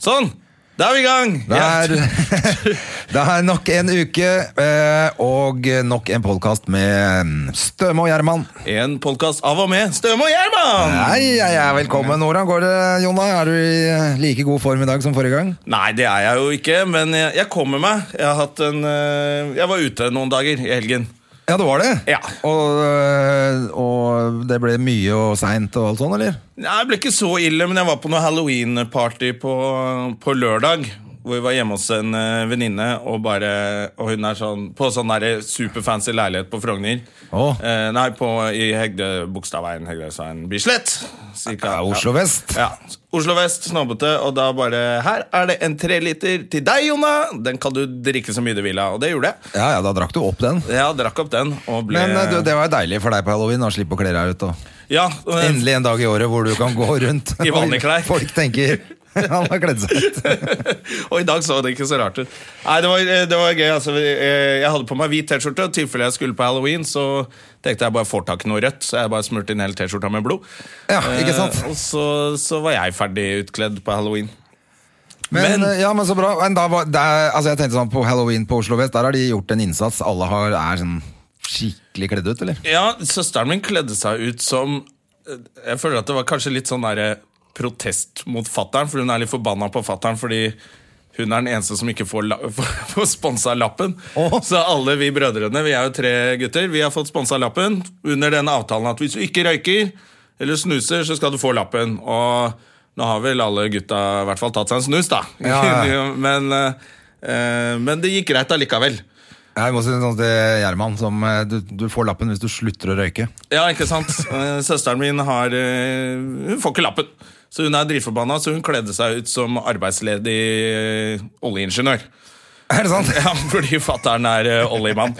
Sånn! Da er vi i gang! Det Ja. er, det er nok en uke eh, og nok en podkast med mm, Støme og Gjerman. En podkast av og med Støme og Gjerman! Hei, hei, hei, velkommen. Hvordan går det, Jonna? Er du i eh, like god form i dag som forrige gang? Nei, det er jeg jo ikke, men jeg, jeg kommer meg. Jeg, har hatt en, eh, jeg var ute noen dager i helgen. Ja, det var det. Ja. Og, eh, og det ble mye og seint og alt sånn, eller? Nei, Det ble ikke så ille, men jeg var på noe Halloween-party på, på lørdag. Hvor vi var hjemme hos en eh, venninne, og, bare- og hun er sånn, på sånn der superfancy leilighet på Frogner. Å. Eh, nei, på, i Hegde, Bogstadveien, Hegdøysveien, Bislett. Cirka, Ja, Oslo vest. Ja. Oslo vest, snobbete, og da bare Her er det en treliter til deg, Jonna! Den kan du drikke så mye du vil av. Og det gjorde jeg. Ja, ja, da drakk du opp den. Jeg drakk opp den og ble Men eh, du, det var jo deilig for deg på halloween å slippe å kle deg ut. Og. Ja, eh, Endelig en dag i året hvor du kan gå rundt I vanlige klær. Folk tenker han har kledd seg ut. og i dag så det ikke så rart ut. Nei, det var, det var gøy. Altså, Eh, jeg hadde på meg hvit T-skjorte, og i tilfelle jeg skulle på halloween, så tenkte jeg bare får tak i noe rødt, så jeg bare smurte inn hele T-skjorta med blod. Ja, ikke sant? Eh, og så, så var jeg ferdig utkledd på halloween. Men, eh, Men- ja, men så bra. Men da var, der, altså jeg tenkte sånn På halloween på Oslo Vest, der har de gjort en innsats. Alle har, er sånn skikkelig kledd ut, eller? Ja, søsteren min kledde seg ut som eh, Jeg føler at det var kanskje litt sånn der eh, protest mot fatteren, for hun er litt forbanna på fatteren fordi hun er den eneste som ikke får, la- får sponsa lappen. Åh. Så alle vi brødrene, vi er jo tre gutter, vi har fått sponsa lappen under den avtalen at hvis du ikke røyker eller snuser, så skal du få lappen. Og nå har vel alle gutta i hvert fall tatt seg en snus, da. Ja, ja. men, eh, eh, men det gikk greit allikevel. Jeg må si sånn til Gjerman som eh, du, du får lappen hvis du slutter å røyke. Ja, ikke sant? Eh, Søsteren min har eh, Hun får ikke lappen. Så hun er dritforbanna, så hun kledde seg ut som arbeidsledig eh, oljeingeniør. Er det sant? Ja, fordi fatter'n er eh, oljemann.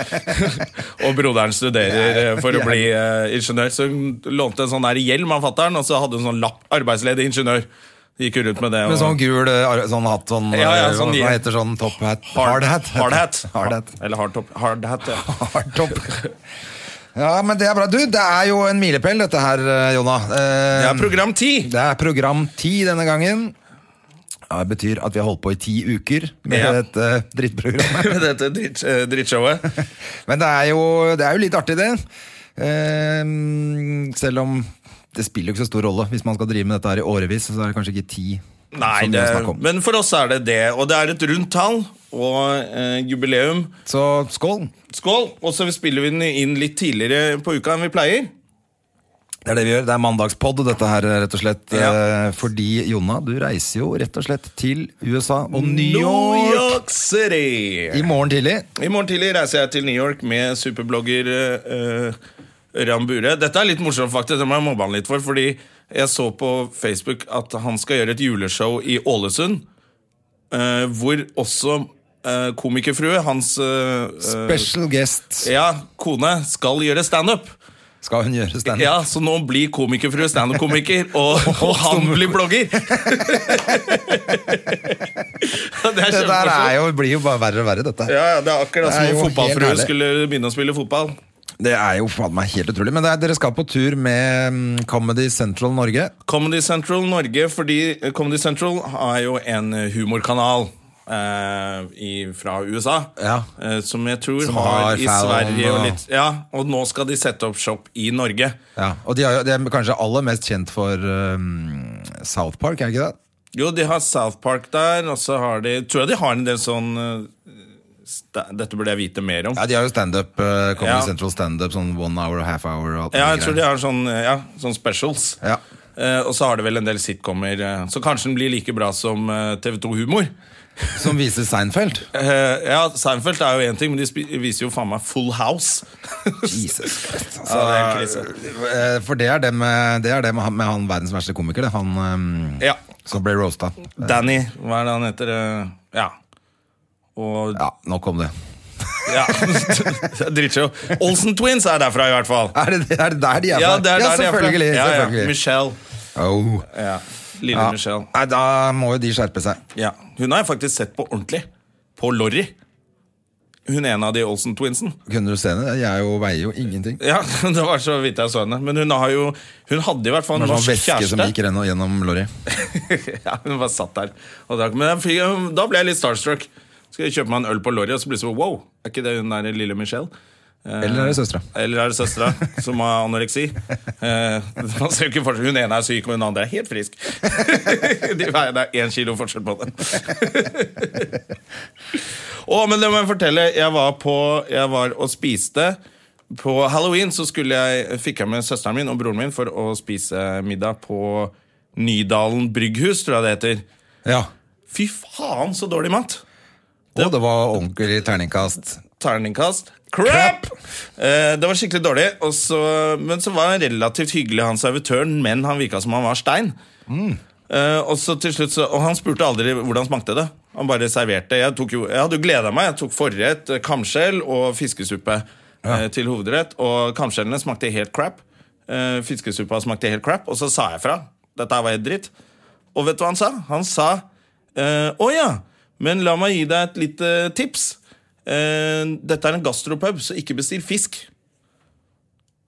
og broderen studerer eh, for å bli eh, ingeniør. Så hun lånte en sånn der hjelm av fatter'n, og så hadde hun sånn lapp 'arbeidsledig ingeniør'. Gikk hun rundt med det. Med sånn gul eh, ar- sånn hatt, sånn, Ja, ja, eh, sånn hva, gir- hva heter sånn top hat? Hard hat. Hard hat. Hard hat. Eller hard top. Hard hat, ja. Hard top. Ja, men det er bra. Du, det er jo en milepæl dette her, eh, Jonna. Eh, Det er program ti! Det er program ti denne gangen. Ja, det betyr at vi har holdt på i ti uker med eh, Ja. dette drittprogrammet. Dette dritt, eh, drittshowet. Men det er jo, det er jo litt artig, det. Ehm, selv om det spiller jo ikke så stor rolle. Hvis man skal drive med dette her i årevis, så er det kanskje ikke ti. Nei, som det, det er snakk om. men for oss er det det. Og det er et rundt tall og eh, jubileum. Så skål! Skål! Og så spiller vi den inn litt tidligere på uka enn vi pleier. Det er det vi gjør. Det er mandagspod, dette her, rett og slett. Ja. Eh, Fordi, Jonna, du reiser jo rett og slett til USA og New New York York City! i morgen tidlig. I morgen tidlig reiser jeg til New York med superblogger uh, Rambure. Dette er litt morsomt, faktisk. Det må jeg mobbe han litt for. Fordi jeg så på Facebook at han skal gjøre et juleshow i Ålesund. eh, hvor også eh, komikerfrue, hans eh, eh, Special guest ja, kone, skal gjøre standup. skal hun gjøre standup. Ja, så nå blir komikerfrue standup-komiker, og, og han blir blogger! det er Dette her er kjempemorsomt. jo, blir jo bare verre og verre, dette. Ja, ja, det er akkurat Det er som jo om helt fotballfrue herlig. skulle begynne å spille fotball. Det er jo faen meg helt utrolig. Men det er, dere skal på tur med mm, Comedy Central Norge. Comedy Central Norge, fordi eh, Comedy Central har jo en humorkanal. eh, i, fra USA, Ja. eh, som jeg tror Som har, har i Fallon Sverige og og- litt Ja, og nå skal de sette opp shop i Norge. Ja, og de, er jo- de er kanskje aller mest kjent for um, South Park, er det ikke det? Jo, de har South Park der, og så har de Tror jeg de har en del sånn eh, sta- Dette burde jeg vite mer om. Ja, De har jo standup, uh, Comedy Ja. Central standup, sånn one hour og half hour. Og alt Ja, mulig jeg tror de greier. har sånn, ja, sånn specials. Ja. Eh, og så har det vel en del sitcomer, eh, så kanskje den blir like bra som eh, TV2 Humor. Som viser Seinfeld. Eh, ja, Seinfeld er jo én ting, men de spi- viser jo faen meg Full House. Jesus Christ, altså. Så det er en krise. Eh, For det er det med, det er det med, han, med han verdens verste komiker, det. Han ehm, Ja. som ble roasta. Danny, hva er det han heter? Eh, ja. Og Ja, nok om det. ja. Drittshow. Olsen Twins er derfra, i hvert fall. Er det, er det der de er fra? Ja, det er der de er fra. selvfølgelig. Ja, ja. selvfølgelig. Michelle. Oh. Ja. Lille Ja. Michelle. Nei, da må jo de skjerpe seg. Ja. Hun har jeg faktisk sett på ordentlig. På Lorry. Hun er en av de Olsen-twinsen. Kunne du se det? Jeg er jo, veier jo ingenting. Ja, det var så vidt jeg så henne. Men hun, har jo, hun hadde i hvert fall Det en var sånn norsk væske kjæreste. som gikk gjennom, gjennom lorry. ja, hun bare satt der og drakk. Men jeg fikk, da ble jeg litt starstruck. Skal jeg kjøpe meg en øl på Lorry, og så blir det sånn wow, er ikke det hun der lille Michelle? Eh, Eller er det søstera? Eller er det søstera som har anoreksi? Eh, man ser jo ikke forskjell. Hun ene er syk, og hun andre er helt frisk. De veier det er én kilo forskjell på dem. Å, men det må jeg fortelle. Jeg var, på, jeg var og spiste. På halloween så skulle jeg, fikk jeg med søsteren min og broren min for å spise middag på Nydalen brygghus, tror jeg det heter. Ja. Fy faen, så dårlig mat! Og det var ordentlig terningkast. Terningkast. Crap! Eh, det var skikkelig dårlig. Og så, men så var han relativt hyggelig, han servitøren, men han virka som han var stein. Eh, og så til slutt så, og han spurte aldri hvordan smakte det. Han bare serverte. Jeg, tok jo, jeg hadde jo gleda meg. Jeg tok forrett, eh, kamskjell og fiskesuppe eh, til hovedrett. Og kamskjellene smakte helt crap. Eh, fiskesuppa smakte helt crap. Og så sa jeg fra. Dette her var helt dritt. Og vet du hva han sa? Han sa eh, Å ja, men la meg gi deg et lite tips. Eh, dette er en gastropub, så ikke bestill fisk.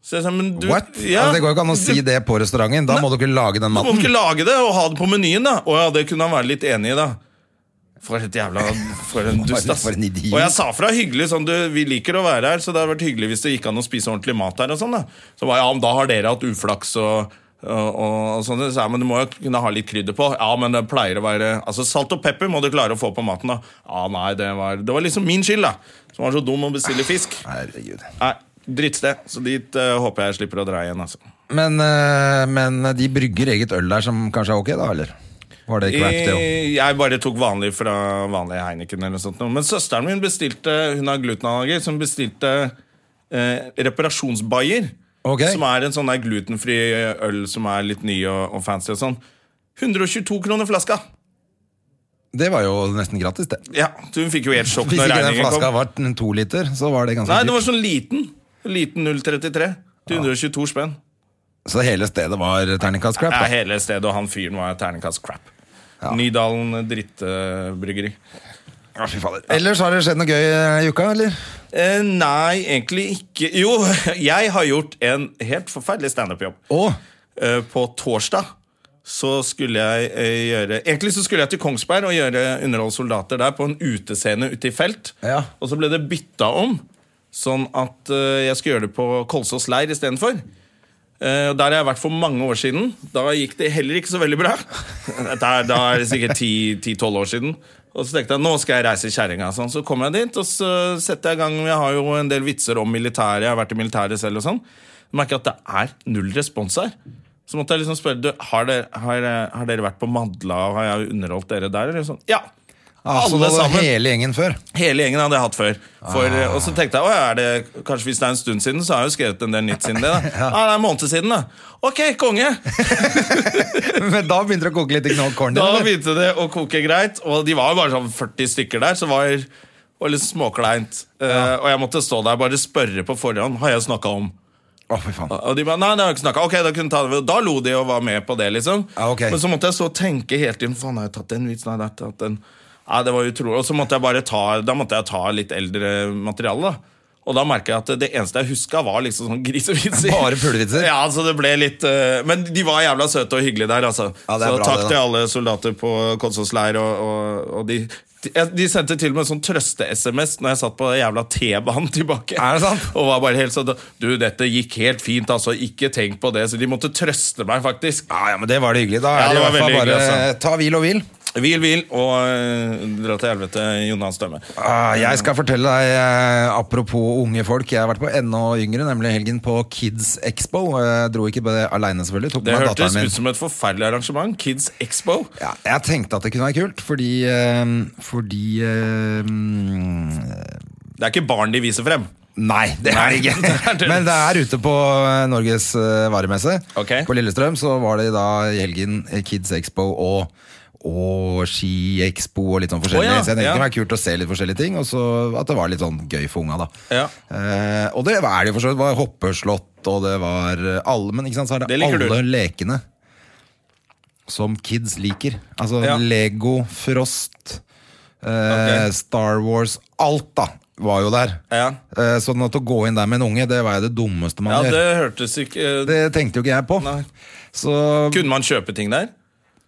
Så jeg sa, men du What? Ja, altså, det går jo ikke an å si du- det på restauranten. Da må du ikke lage den du må maten. ikke lage det og ha det på menyen, da. Å ja, det kunne han være litt enig i, da. For et jævla For en dust, ass. For en idiot. Og jeg sa fra hyggelig, sånn du, vi liker å være her, så det hadde vært hyggelig hvis det gikk an å spise ordentlig mat her og sånn, da. Så bare ja, men da har dere hatt uflaks og og, og, og sånn, så, ja, men Du må jo kunne ha litt krydder på. Ja, men det pleier å være Altså Salt og pepper må du klare å få på maten. da Ja, Nei, det var Det var liksom min skyld, da. Som var så dum å bestille fisk. Herregud. Nei, Drittsted. Så dit eh, håper jeg slipper å dra igjen. altså Men, eh, men de brygger eget øl der som kanskje er ok, da, eller? Var det crap, det òg? Eh, Jeg bare tok vanlig fra vanlig Heineken eller noe sånt. noe. Men søsteren min bestilte, hun har glutenallergi, som bestilte eh, reparasjonsbayer. Ok. Som er en sånn der glutenfri øl som er litt ny og, og fancy og sånn. 122 kroner flaska! Det var jo nesten gratis, det. Ja, så Hun fikk jo helt sjokk Hvis når ikke den regningen flaska kom. var en to liter, så var det ganske Nei, dyrt. det var sånn liten. Liten 033 til 122 spenn. Så hele stedet var terningkast crap? Det er Da. hele stedet, og han fyren var terningkast crap. Nydalen drittbryggeri. Ja, fy fader. Ellers har det skjedd noe gøy eh, i uka, eller? Eh, nei, egentlig ikke. Jo, jeg har gjort en helt forferdelig standup-jobb. Å, Eh, på torsdag så skulle jeg eh, gjøre Egentlig så skulle jeg til Kongsberg og gjøre Underhold soldater der på en utescene ute i felt. Ja. Og så ble det bytta om, sånn at eh, jeg skulle gjøre det på Kolsås leir istedenfor. Eh, og Der har jeg vært for mange år siden. Da gikk det heller ikke så veldig bra. Dette er, da er det sikkert 10-12 år siden. Og så tenkte jeg nå skal jeg reise i kjerringa. Sånn. Så kom jeg dit, og så setter jeg i gang. Jeg har jo en del vitser om militæret. Jeg har vært i militæret selv og sånn. Jeg merker at det er null respons her. Så måtte jeg liksom spørre du, har, dere, har, har dere vært på Madla, og har jeg underholdt dere der? Eller sånn. Ja! altså, det Ah. var hele gjengen før. Hele gjengen hadde jeg hatt før. For, Og så tenkte jeg «Å, er det, kanskje hvis det er en stund siden, så har jeg jo skrevet en del nytt siden det. da ah, Det er en måned siden, da. Ok, konge! Men da begynte det å koke litt i kno- kornet? Da eller? begynte det å koke greit. Og de var jo bare sånn 40 stykker der, så det var, var litt småkleint. Eh, og jeg måtte stå der og bare spørre på forhånd har jeg snakka om. Å, fy faen. Og de bare, nei, det har jeg ikke snakket. Ok, Da kunne ta det ved». Da lo de og var med på det, liksom. Ja, ok. Men så måtte jeg så tenke hele tiden. Faen, har jeg tatt den vitsen? Har jeg tatt den? Nei, det var utrolig. Og så måtte jeg bare ta Da måtte jeg ta litt eldre materiale. da og da merka jeg at det eneste jeg huska, var liksom sånn grisevitser. Bare pulevitser? Ja, så det ble litt eh, Men de var jævla søte og hyggelige der, altså. Ja, det er så bra takk det, da. til alle soldater på Kolsås leir. Og, og, og de, de, de sendte til og med en sånn trøste-SMS når jeg satt på den jævla T-banen tilbake. Er det sant? Og var bare helt sånn Du, dette gikk helt fint, altså. Ikke tenk på det. Så de måtte trøste meg, faktisk. Ja, ja, men det var det hyggelig. Da Ja, er det, det i var hvert fall veldig bare hyggelig, altså. ta hvil og hvil. Hvil, hvil, og eh, dra til helvete, Jonas Dømme. Ah, jeg skal fortelle deg, eh, apropos unge folk, jeg har vært på enda yngre, nemlig helgen på Kids Expo. og Jeg dro ikke på det aleine, selvfølgelig. Tok Det med hørtes datteren min. ut som et forferdelig arrangement. Kids Expo. Ja, jeg tenkte at det kunne være kult, fordi eh, Fordi eh, Det er ikke barn de viser frem. Nei, det er det Nei, det ikke. er det. Men det er ute på Norges eh, varemesse. Ok. På Lillestrøm så var det da i helgen eh, Kids Expo og og Ski Expo og litt sånn forskjellig. Å ja, så jeg tenkte ja. det var kult å se litt forskjellige ting, og så at det var litt sånn gøy for unga, da. Ja. Eh, og det er det jo for så vidt. Det var hoppeslott, og det var eh, alle Men ikke sant, så er det, Det liker du. alle lekene som kids liker. Altså Ja. Lego, Frost, eh, Ok. Star Wars Alt, da, var jo der. Ja. Eh, sånn at å gå inn der med en unge, det var jo det dummeste man Ja, det gjør. hørtes ikke eh, Det tenkte jo ikke jeg på. Nei. Så Kunne man kjøpe ting der?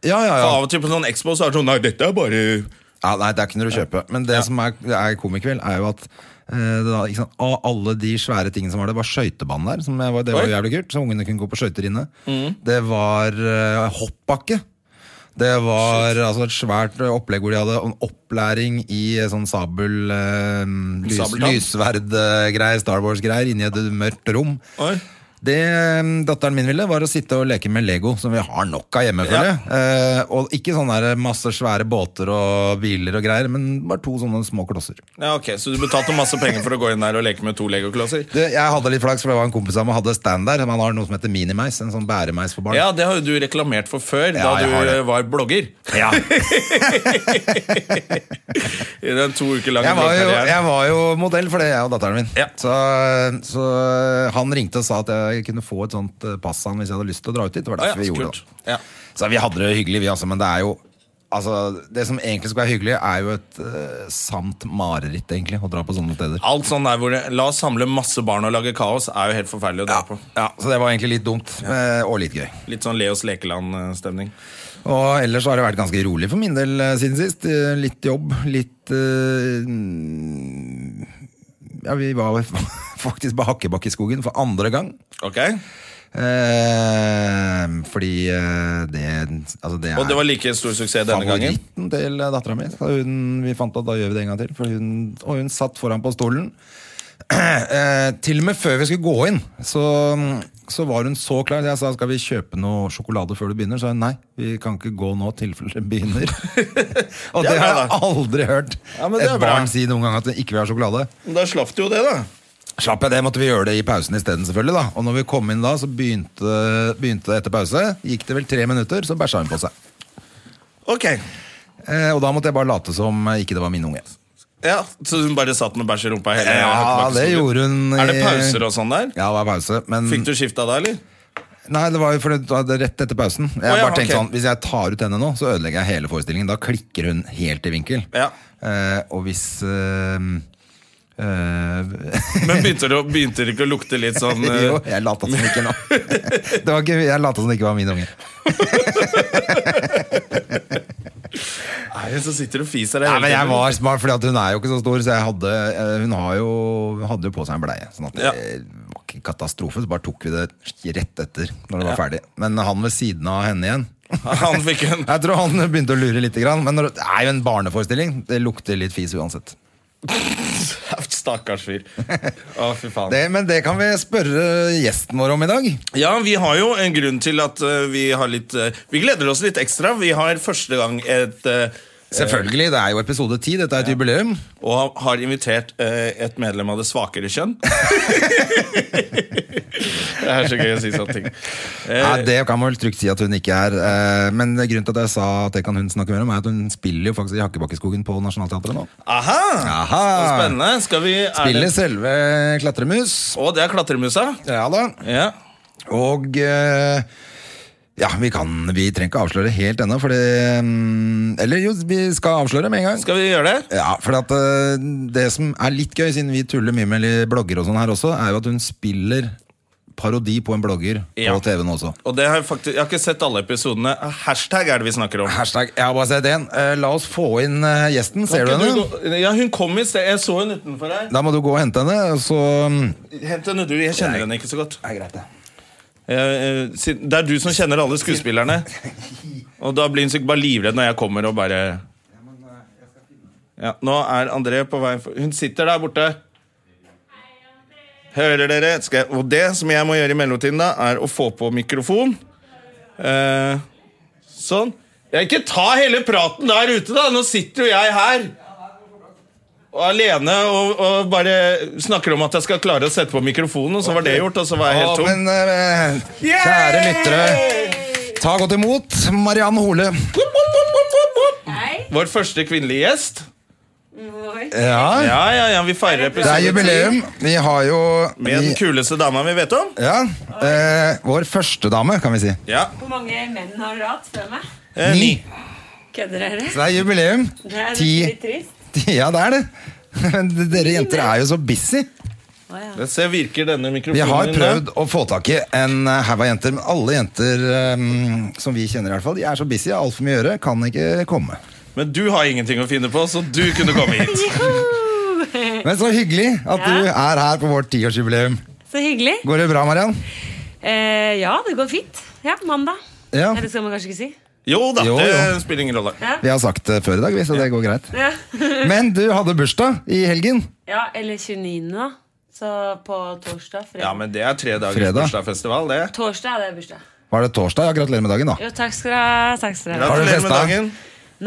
Ja, ja, For ja. Av og til på sånn Expo så er det sånn Nei, dette er bare ja nei, der kunne du kjøpe. Men det som er, er komikveld, er jo at eh, da, ikke sant? Av alle de svære tingene som var der, var skøytebanen der. Som jeg var, det var Oi. Mm. jo jævlig kult, så ungene kunne gå på skøyter inne. Det var eh, hoppbakke. Det var altså et svært opplegg hvor de hadde en opplæring i eh, sånn sabel eh, lys, Sabeltann? Lysverd-greier, Star Wars-greier, inni et mørkt rom. Oi. Det mm, datteren min ville, var å sitte og leke med Lego, som vi har nok av hjemme. føler jeg. Eh, og ikke sånne der masse svære båter og biler og greier, men bare to sånne små klosser. Ja, ok, Så du betalte masse penger for å gå inn der og leke med to legoklosser? Det, jeg hadde litt flaks, for det var en kompis av meg hadde stand der. Man har noe som heter minimeis, en sånn bæremeis for barn. Ja, det har jo du reklamert for før, Ja, jeg da har du det. eh, var blogger. Ja. I den to uker lange Jeg var, jo, bloggkarrieren. jeg var jo modell for det, jeg og datteren min. Ja. Så, så han ringte og sa at jeg kunne få et sånt eh, pass han hvis jeg hadde lyst til å dra ut dit. Det var Å ja, derfor vi så gjorde kult. det. Ja. Så vi hadde det hyggelig, vi altså, men det er jo Altså, Det som egentlig skal være hyggelig, er jo et eh, sant mareritt, egentlig, å dra på sånne steder. Alt sånn der hvor det, La oss samle masse barn og lage kaos er jo helt forferdelig å dra på. Ja, Så det var egentlig litt dumt, eh, og litt gøy. Litt sånn Leos Lekeland-stemning. Og ellers så har det vært ganske rolig for min del eh, siden sist. Eh, Litt jobb, litt eh, mm, Ja, vi var faktisk på Hakkebakkeskogen for andre gang. Ok? Eh, fordi eh, det Altså, det er Og det var like stor suksess denne gangen? favoritten til eh, dattera mi. Vi fant at da gjør vi det en gang til. For hun, og hun satt foran på stolen. Eh, til og med før vi skulle gå inn, så, så var hun så klar. Jeg sa skal vi kjøpe noe sjokolade før du begynner. Så sa hun nei, vi kan ikke gå nå tilfelle det begynner. og Det det er har bra, da. jeg aldri hørt Ja, men det et er bra. barn si noen gang at hun ikke vil ha sjokolade. Da slapp du jo det, da. Slapp jeg det, måtte vi gjøre det i pausen isteden, selvfølgelig. da Og når vi kom inn da, så begynte, begynte det etter pause. Gikk det vel tre minutter, så bæsja hun på seg. Ok. Eh, og da måtte jeg bare late som eh, ikke det var min unge. Ja, Så hun bare satt med bæsj i rumpa hele Ja, Hakkebakkeskogen? det gjorde hun i- Mm. Er det pauser og sånn der? Ja, det var pause, men Fikk du skifta da, eller? Nei, det var jo for det var det rett etter pausen. Jeg Å, ja, bare tenkte ok. sånn, Hvis jeg tar ut henne nå, så ødelegger jeg hele forestillingen. Da klikker hun helt i vinkel. Ja. Eh, og hvis eh, eh, Men begynte det, å- begynte det ikke å lukte litt sånn eh, Jo, jeg lata som ikke nå. det var ikke, jeg lata som det ikke var min unge. Nei, så sitter du og fiser deg Nei, hele men jeg tiden. var smart, for hun er jo ikke så stor, så jeg hadde, eh, hun, har jo, hun hadde jo på seg en bleie. Sånn at det Ja. var ikke katastrofe, så bare tok vi det rett etter når det var ferdig. Men han ved siden av henne igjen Han fikk en Jeg tror han begynte å lure litt, grann, men når, det er jo en barneforestilling. Det lukter litt fis uansett. Stakkars fyr. Å, fy faen. Det, men det kan vi spørre gjesten vår om i dag. Ja, vi har jo en grunn til at eh, vi har litt eh, Vi gleder oss litt ekstra. Vi har første gang et eh, Selvfølgelig, det er jo episode ti. Dette er et jubileum. Og har invitert eh, et medlem av det svakere kjønn. det er så gøy å si sånne ting. Eh, Ja, det kan man vel trygt si at hun ikke er. eh, Men grunnen til at jeg sa at det kan hun snakke mer om, er at hun spiller jo faktisk i Hakkebakkeskogen på Nationaltheatret nå. Aha! Aha! Så spennende. Skal vi er Spiller det- selve Klatremus. Å, det er klatremusa? Ja da. Ja. Og eh, ja, vi kan Vi trenger ikke avsløre helt ennå, for det mm, Eller jo, vi skal avsløre med en gang. Skal vi gjøre det? Ja, for at, eh, det som er litt gøy, siden vi tuller mye med li- blogger og sånn her også, er jo at hun spiller parodi på en blogger Ja. på TV-en også. Og det har jeg, faktisk, jeg har ikke sett alle episodene. Hashtag er det vi snakker om. Hashtag, jeg har bare sett en. Eh, La oss få inn eh, gjesten. Ser du Kan ikke henne? gå- Ja, hun kom i sted. Jeg så henne utenfor her. Da må du gå og hente henne. og Så mm, Hent henne, du. Jeg kjenner henne ikke så godt. er greit, det. Eh, eh, siden- Det er du som kjenner alle skuespillerne. Og da blir hun sikkert bare livredd når jeg kommer og bare ja, Nå er André på vei for... Hun sitter der borte. Hører dere? Skal jeg... Og det som jeg må gjøre i mellomtiden, da, er å få på mikrofon. Eh, sånn. Jeg ikke ta hele praten der ute, da! Nå sitter jo jeg her. Og alene og, og bare snakker om at jeg skal klare å sette på mikrofonen, og så var det gjort. Og så var jeg helt Å, tom. men, eh, kjære lyttere, ta godt imot Mariann Hole. Vår første kvinnelige gjest. Ja, Ja, ja, ja, vi feirer det episode er jubileum. Vi har jo Med den vi, kuleste dama vi vet om. ja, eh, Vår første dame, kan vi si. Ja. Hvor mange menn har dere hatt før meg? Eh, ni. Kødder dere? Så det er jubileum. Det er Ti. litt trist. Ja, det er det. Men Dere jenter er jo så busy. Let's se, virker denne mikrofonen Vi har din der? prøvd å få tak i en eh, haug av jenter, men alle jenter eh, som vi kjenner, i hvert fall, de er så busy, har altfor mye å gjøre, kan ikke komme. Men du har ingenting å finne på, så du kunne komme hit. Men så hyggelig at Ja. du er her på vårt tiårsjubileum. Så hyggelig. Går det bra, Mariann? Eh, ja, det går fint. Ja, mandag. Ja. Eller skal man kanskje ikke si? Jo da, Jo, jo. det spiller ingen rolle. Vi har sagt det før i dag, vi, så det går greit. Ja, Men du hadde bursdag i helgen. ja eller 29. da. Så på torsdag. Fredag. Ja, men det er tre dagers Fredag. bursdagsfestival, det. Torsdag er det bursdag. Var det torsdag? Ja, gratulerer med dagen, da. Jo, takk skal du ha. Takk skal du ha. Har du Gratulerer med festa? dagen.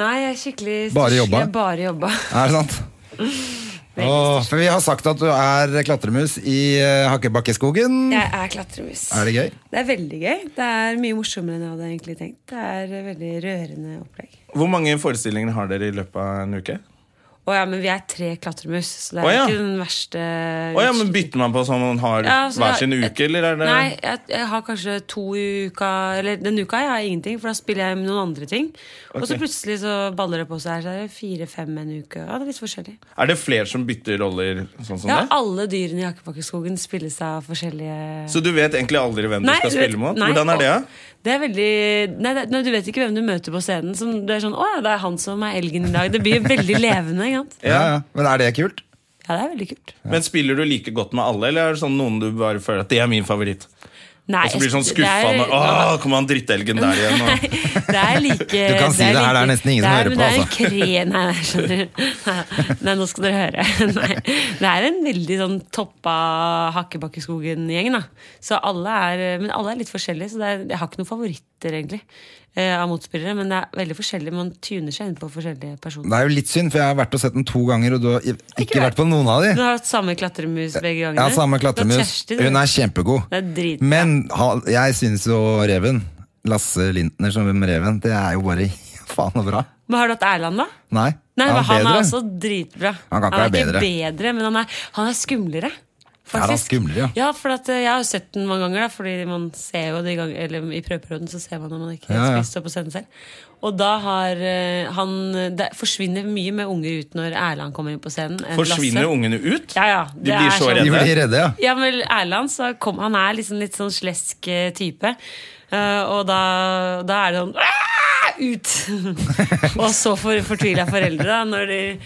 Nei, jeg er skikkelig Bare jobba? Jeg Bare jobba. Er det sant? Åh, for vi har sagt at du er klatremus i eh, Hakkebakkeskogen. Jeg er klatremus. Er det gøy? Det er veldig gøy. Det er mye morsommere enn jeg hadde egentlig tenkt. Det er et veldig rørende opplegg. Hvor mange forestillinger har dere i løpet av en uke? Å ja, men vi er tre klatremus, så det er Å ja. ikke den verste Å ja, men Bytter man på sånn man har Ja, så hver da- sin uke, eller er det Nei, jeg, jeg har kanskje to i uka Eller den uka jeg har ingenting, for da spiller jeg med noen andre ting. Og så Ok. plutselig så baller det på seg her, så er det fire-fem en uke. Ja, det er litt forskjellig. Er det flere som bytter roller sånn som Ja, det? alle dyrene i Akebakkskogen spilles av forskjellige Så du vet egentlig aldri hvem du Nei, skal du vet- spille mot? nei, Hvordan er det? og- Det er veldig nei, det, nei, du vet ikke hvem du møter på scenen. Som, det er sånn 'Å ja, det er han som er elgen i dag'. Det blir veldig levende. Ikke sant? Ja, ja. Men er det kult? Ja, det er veldig kult. Men Spiller du like godt med alle, eller er det sånn noen du bare føler at det er min favoritt? Nei, Og så blir du sånn jeg- det er- skuffa med Åh, kom han drittelgen der igjen? Og... Det er like Du kan si er det her, det er nesten ingen som hører men på, Det er en kre... altså. Nei, nei, skjønner du. Nei, nå skal dere høre. Nei. Det er en veldig sånn toppa Hakkebakkeskogen-gjeng, da. Så alle er, men alle er litt forskjellige, så det er, jeg har ikke noen favoritter, egentlig, eh, av motspillere. Men det er veldig forskjellig. Man tuner seg inn på forskjellige personer. Det er jo litt synd, for jeg har vært og sett den to ganger, og du har i- ikke vært på noen av de. Du har hatt samme klatremus begge gangene. Ja, samme Du klatremus. har Kjersti, Hun du. er kjempegod. Det er drit- Men ha- jeg syns jo Reven, Lasse Lintner som Reven, det er jo bare faen og bra. Men har du hatt Erland, da? Nei, Nei, er men han bedre? er altså også dritbra. Han kan ikke er ikke være bedre, men han er, han er skumlere. Faktisk. han skumlere, ja? Ja, for at, eh, jeg har jo sett den mange ganger, da, fordi man ser jo det i, gang, eller, i prøveperioden så ser man når man ikke helt Ja, ja. spiser opp og sender selv. Og da har eh, han Det forsvinner mye med unger ut når Erland kommer inn på scenen. enn Forsvinner Lasse. ungene ut? Ja, sånn. ja. De blir så De redde. blir redde, ja. Ja, men Erland så kom, han er liksom litt sånn slesk eh, type. Eh, og da, da er det sånn «Ah! Ut! og så for, fortvila foreldre, da, når de,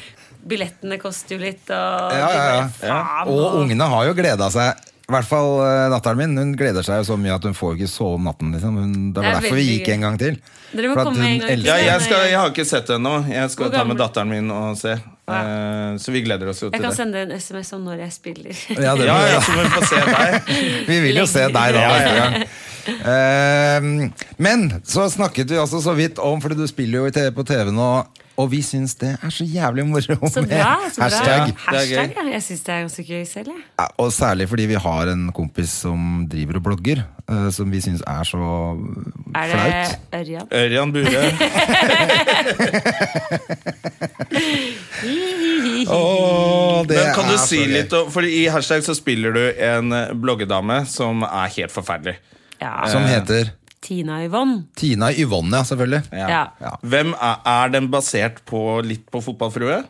billettene koster jo litt. Og Ja, ja, ja. de bare, faen, Og og- ungene har jo gleda seg. I hvert fall eh, datteren min. Hun gleder seg jo så mye at hun får ikke sove om natten. Liksom. Hun, det Det var er derfor vi veldig gikk gøy. en gang til. Dere må For at komme en hun gang til. elsker- Ja, jeg, skal, jeg har ikke sett det ennå. Jeg skal Hvor ta med gammel? datteren min og se. Eh, så vi gleder oss jo Jeg til kan det. sende en SMS om når jeg spiller. Ja, Ja, det må vi ja, gjøre. så må vi få se deg. Vi vil jo se deg da neste gang. Ehm, men så snakket vi også så vidt om, Fordi du spiller jo i TV på TV nå, og vi syns det er så jævlig moro Så med bra! så bra hashtag. Det er Hashtag gøy. ja. Jeg syns det er ganske gøy selv, jeg. Ja, Og særlig fordi vi har en kompis som driver og blogger, eh, som vi syns er så Er flaut. det Ørjan? Ørjan Bure. Åh, det Men kan du er så si gøy. litt om For i hashtag så spiller du en eh, bloggedame som er helt forferdelig. Ja. Som heter Tina Yvonne. Tina Yvonne, ja, selvfølgelig. Ja. Ja. Hvem er, er den basert på litt på fotballfrue?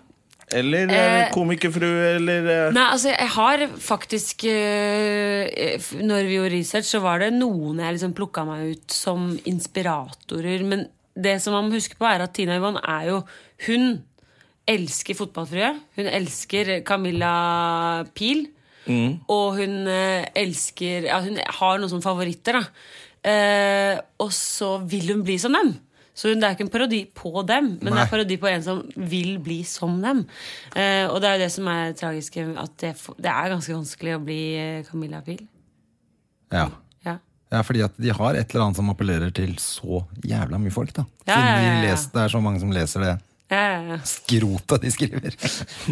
Eller eh, Eh, komikerfrue, eller eh, Nei, altså jeg har faktisk øh, f- Når vi gjorde research, så var det noen jeg liksom plukka meg ut som inspiratorer. Men det som man må huske på, er at Tina Yvonne er jo Hun elsker fotballfrue. Hun elsker Camilla Pil. Mm. Og hun eh, elsker ja, Hun har noen sånne favoritter, da. Eh, og så vil hun bli som dem. Så hun, det er ikke en parodi på dem, men det Nei. er parodi på en som vil bli som dem. Eh, og det er jo det som er tragisk, at det, f- det er ganske vanskelig å bli eh, Camilla Pil. Ja. Ja. ja, fordi at de har et eller annet som appellerer til så jævla mye folk, da. Ja, Siden ja, ja, de ja. les- det er så mange som leser det Eh, skrotet de skriver.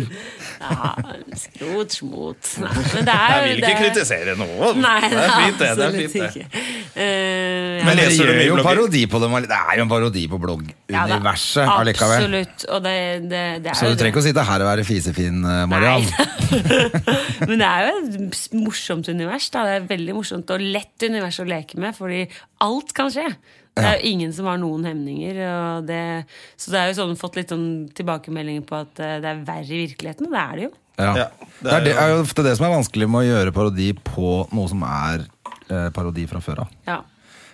ja, skrot, smot Nei, men det er Jeg vil ikke det- kritisere noen. Nei, det er fint, det. det, er absolutt fint, det. ikke. Eh, ja. Men Men det leser du gjør mye jo blogger? parodi på dem. all- Det er jo en parodi på Ja, det- blogguniverset allikevel. Absolutt. Og det, det, det er Så du jo det. trenger ikke å sitte her og være fisefin, eh, Mariann. Nei. Men det er jo et s- morsomt univers. Da. Det er et veldig morsomt og lett univers å leke med, fordi alt kan skje. Det er jo ingen som har noen hemninger. Og det, så det er jo sånn fått litt sånn tilbakemeldinger på at eh, det er verre i virkeligheten, og det er det jo. Ja. Ja, det, er, det er jo ofte det som er vanskelig med å gjøre parodi på noe som er eh, parodi fra før av. Ja.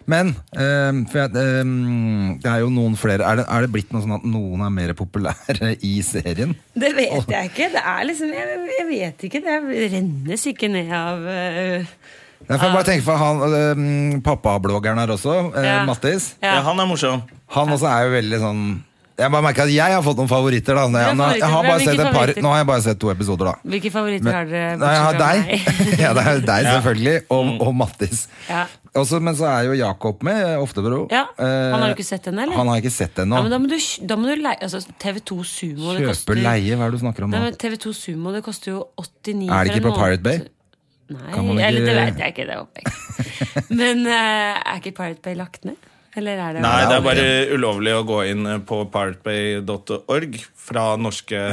Men ehm, for jeg, ehm, det er jo noen flere er det, er det blitt noe sånn at noen er mer populære i serien? Det vet jeg ikke. Det er liksom Jeg, jeg vet ikke. Det rennes ikke ned av eh, Jeg får bare tenke for han ehm, Pappabloggeren her også, eh, Ja. Mattis. Ja, ja. han er morsom. Han også er jo veldig sånn Jeg bare merker at jeg har fått noen favoritter. da Nå- har nå- jeg favoritter. har bare Hvilke sett et par, favoritter? Nå har jeg bare sett to episoder, da. Hvilke favoritter Men- har dere? Nei, jeg har bortsett fra deg. meg? Mm. ja, det er deg, selvfølgelig. Og, og Mattis. Ja. Også, men så er jo Jakob med, eh, Oftebro. Ja, han har jo Eh, ikke sett henne, eller? Han har ikke sett henne Ja, men nå. da må du, da må du leie altså, TV2 Sumo det Kjøpe, koster- leie, hva er det du snakker om Nei, nå? men TV2 Sumo det koster jo 89 Er det for ikke en på Pirate Bay? måned. Nei, Kan man ikke- eller det vet jeg ikke. Det håper jeg ikke. Men eh, er ikke Pirate Bay lagt ned? Eller er det Nei, det er bare ulovlig å gå inn på piratebay.org fra norske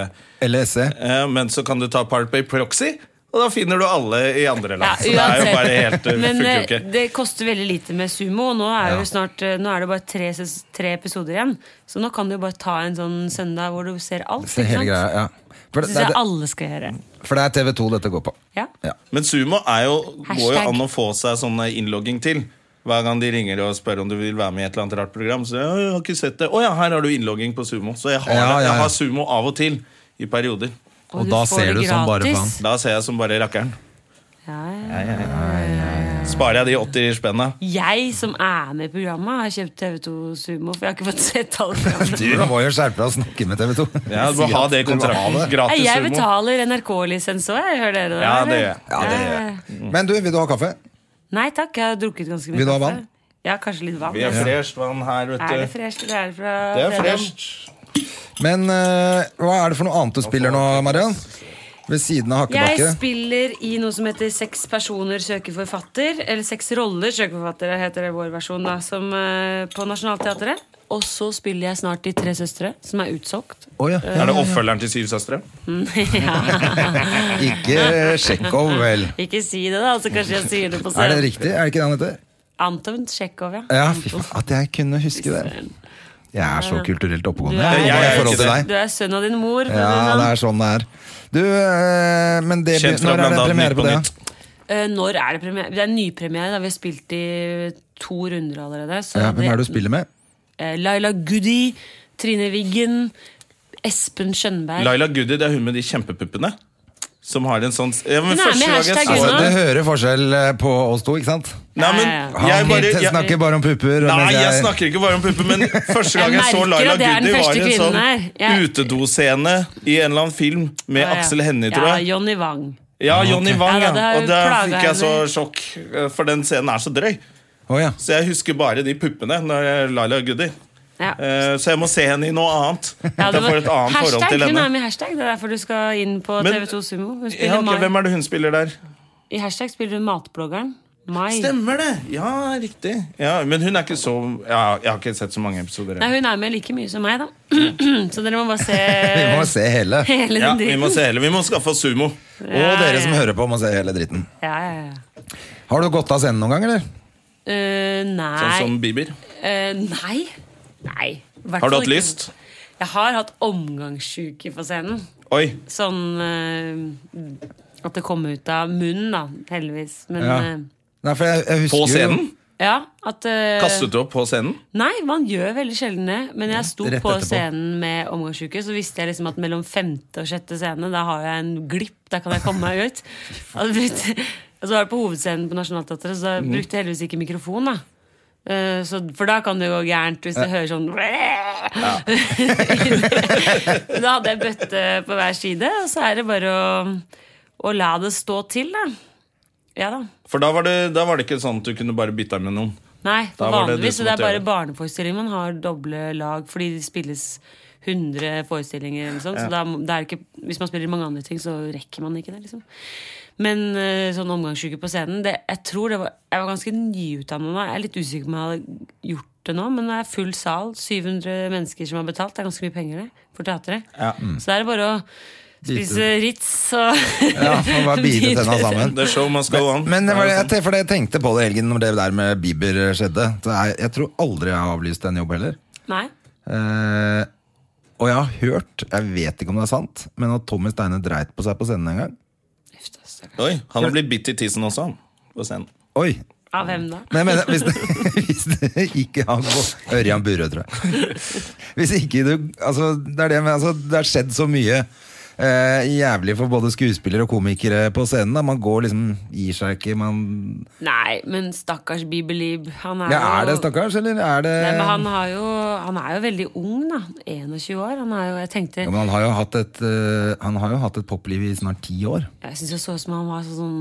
Eller SE? eh, Men så kan du ta Piratebay Proxy, og da finner du alle i andre Ja, land. Så det er jo uansett. bare helt eh, Men funker jo eh, ikke. det koster veldig lite med sumo, og nå er, jo snart, eh, nå er det bare tre, ses- tre episoder igjen. Så nå kan du jo bare ta en sånn søndag hvor du ser alt. Se hele ikke sant? greia, ja. For Det det, syns jeg det, alle skal gjøre. for det er TV 2 dette går på. Ja. Ja. Men sumo er jo, går jo Hashtag. an å få seg sånn innlogging til. Hver gang de ringer og spør om du vil være med i et eller annet rart program, så ja, jeg har ikke sett det. Å ja, her har du innlogging på sumo. Så jeg har, Ja, ja, ja. jeg har sumo av og til. I perioder. Og da får ser det du sånn bare gratis. Da ser jeg som bare rakkeren. Ja, ja. Sparer jeg de 80 spenna? Jeg som er med i programmet, har kjøpt TV2 Sumo, for jeg har ikke fått sett alle Du programmene. må jo skjerpe deg og snakke med TV 2. Ja, du må ha det i kontrakten. Nei, Gratis Jeg sumo. betaler NRK-lisens òg, hører dere det? Ja, eller? det gjør jeg. Ja, det gjør jeg. Men du, vil du ha kaffe? Nei takk, jeg har drukket ganske mye Vil du ha kaffe. vann? Ja, kanskje litt vann. Vi er fresht vann her, Er det vet du. fresh, eller er det fra Det er fredag? fresht. Men eh, hva er det for noe annet du spiller nå, Mariann? Ved siden av Jeg Hakkebakke? spiller i noe som heter Seks personer søker forfatter. Eller Seks roller søker forfatter, heter det vår versjon da, som, eh, på Nationaltheatret. Og så spiller jeg snart i Tre søstre, som er utsolgt. Å ja. Er det oppfølgeren til Syv søstre? Ikke Tsjekkov, vel? Ikke si det, da, så kanskje jeg sier det på Er det scenen. riktig? Er det ikke det han heter? Anton Tsjekhov, ja. Ja, fy faen. At jeg kunne huske det. Jeg er så kulturelt oppegående. Du er- Jeg, Jeg er i forhold til ikke deg. Du er sønn av din mor. For Ja, å det si det sånn. er sånn det er. Du, eh, men det, Kjent fra når er det blant annet premiere Nytt på på det? Nytt. Eh, når er det premiere? Det er nypremiere. da Vi har spilt i to runder allerede. Så Ja, hvem er det det- du spiller med? Eh, Laila Goody, Trine Wiggen, Espen Skjønberg. Laila Goody, det er hun med de kjempepuppene. Som har en sånn ja, men Hun er første med gang jeg hashtag så Altså, Gunnar. henne- det hører forskjell eh, på oss to, ikke sant? Nei, men Ja, ja, Han jeg bare jeg, snakker bare om pupper. og Nei, mens jeg snakker ikke bare om pupper, men første gang jeg, så merker Laila at det er den Goody, var første en sånn kvinnen her. Jeg- utedoscene i en eller annen film med Ja, ja. Aksel Hennie, tror jeg. Ja, Jonny Wang. Ah, Ja, Jonny Wang, Ja, da, ja. det har Og jo der plaget fikk jeg så henne. sjokk, eh, for den scenen er så drøy. Å, ja. Så jeg husker bare de puppene når jeg- Laila Goody. Ja. Eh, Så jeg må se henne i noe annet. Ja, At det jeg var- får et annet hashtag, forhold til Hun er henne. med i hashtag. Det er derfor du skal inn på Men- TV2 Sumo. Hun spiller Ja, ok, Mai. hvem er det hun spiller der? I hashtag spiller hun matbloggeren Mai. Stemmer det! Ja, riktig. Ja, men hun er ikke så ja, Jeg har ikke sett så mange episoder. jeg. Nei, hun er med like mye som meg, da. Så dere må bare se Vi må se hele. hele Ja, den vi må dritten. se hele. Vi må skaffe oss sumo. sånn Og dere som hører på, må se hele dritten. Ja, ja, ja. Har du gått av scenen noen gang, eller? Eh, nei. Sånn som Bieber. Eh, nei. Nei. Hvertfall Har du hatt ikke. lyst? Jeg har hatt omgangssjuke på scenen. Oi. Sånn eh, at det kom ut av munnen, da. Heldigvis. Men Ja. ja. Nei, for jeg, jeg husker På Jo, scenen? ja at eh, Kastet du opp på scenen? Nei, man gjør veldig sjelden det. Men jeg sto rett på etterpå. scenen med omgangsuke, så visste jeg liksom at mellom femte og sjette scene, da har jeg en glipp. Da kan jeg komme meg ut. Mm. Og, det brukte, og så var det på hovedscenen på Nationaltheatret, så da brukte jeg heldigvis ikke mikrofon. da Eh, Så, for da kan det gå gærent hvis jeg hører sånn Da hadde jeg bøtte på hver side, og så er det bare å, å la det stå til, da. Ja da. For da var, det, da var det ikke sånn at du kunne bare bytte med noen. Nei, Da for var det du vanligvis som det er måtte bare gjøre det. barneforestillinger man har doble lag, fordi det spilles 100 forestillinger. Eller sånt, Så da, det er ikke, hvis man spiller mange andre ting, så rekker man ikke det. liksom Men eh, sånn omgangsuke på scenen det, Jeg tror det var, jeg var ganske nyutdannet da. Jeg er litt usikker på om jeg hadde gjort det nå, men det er full sal. 700 mennesker som har betalt. Det er ganske mye penger det, for teatret. mm. Så da er det bare å spise Ritz og Ja, man bare bite tenna sammen. The show must go on. Men det var, Er jeg, det sånn- for det jeg tenkte på det i helgen når det der med Bieber eh, skjedde. Så jeg, jeg tror aldri jeg har avlyst en jobb heller. Nei. Eh, og jeg har hørt, jeg vet ikke om det er sant, men at Tommy Steine dreit på seg på scenen en gang. Uff, da, stakkars. sånn? Oi, han har blitt bitt i tissen også, han. På scenen. Oi! Av hvem da? Men jeg mener, hvis det, hvis det ikke har gått Ørjan Burøe, tror jeg. Hvis ikke du Altså, det er det med altså, Det har skjedd så mye eh, jævlig for både skuespillere og komikere på scenen. Da. Man går liksom Gir seg ikke, man Nei, men stakkars Bibelib. Han er, Ja, er jo- det stakkars, eller er det Nei, men han, Ehm. har jo, han er jo veldig ung, da. 21 år. Han er jo, jeg tenkte Ja, men han har jo hatt et, eh, han har jo hatt et popliv i snart ti år. Jeg syns det så ut som han var sånn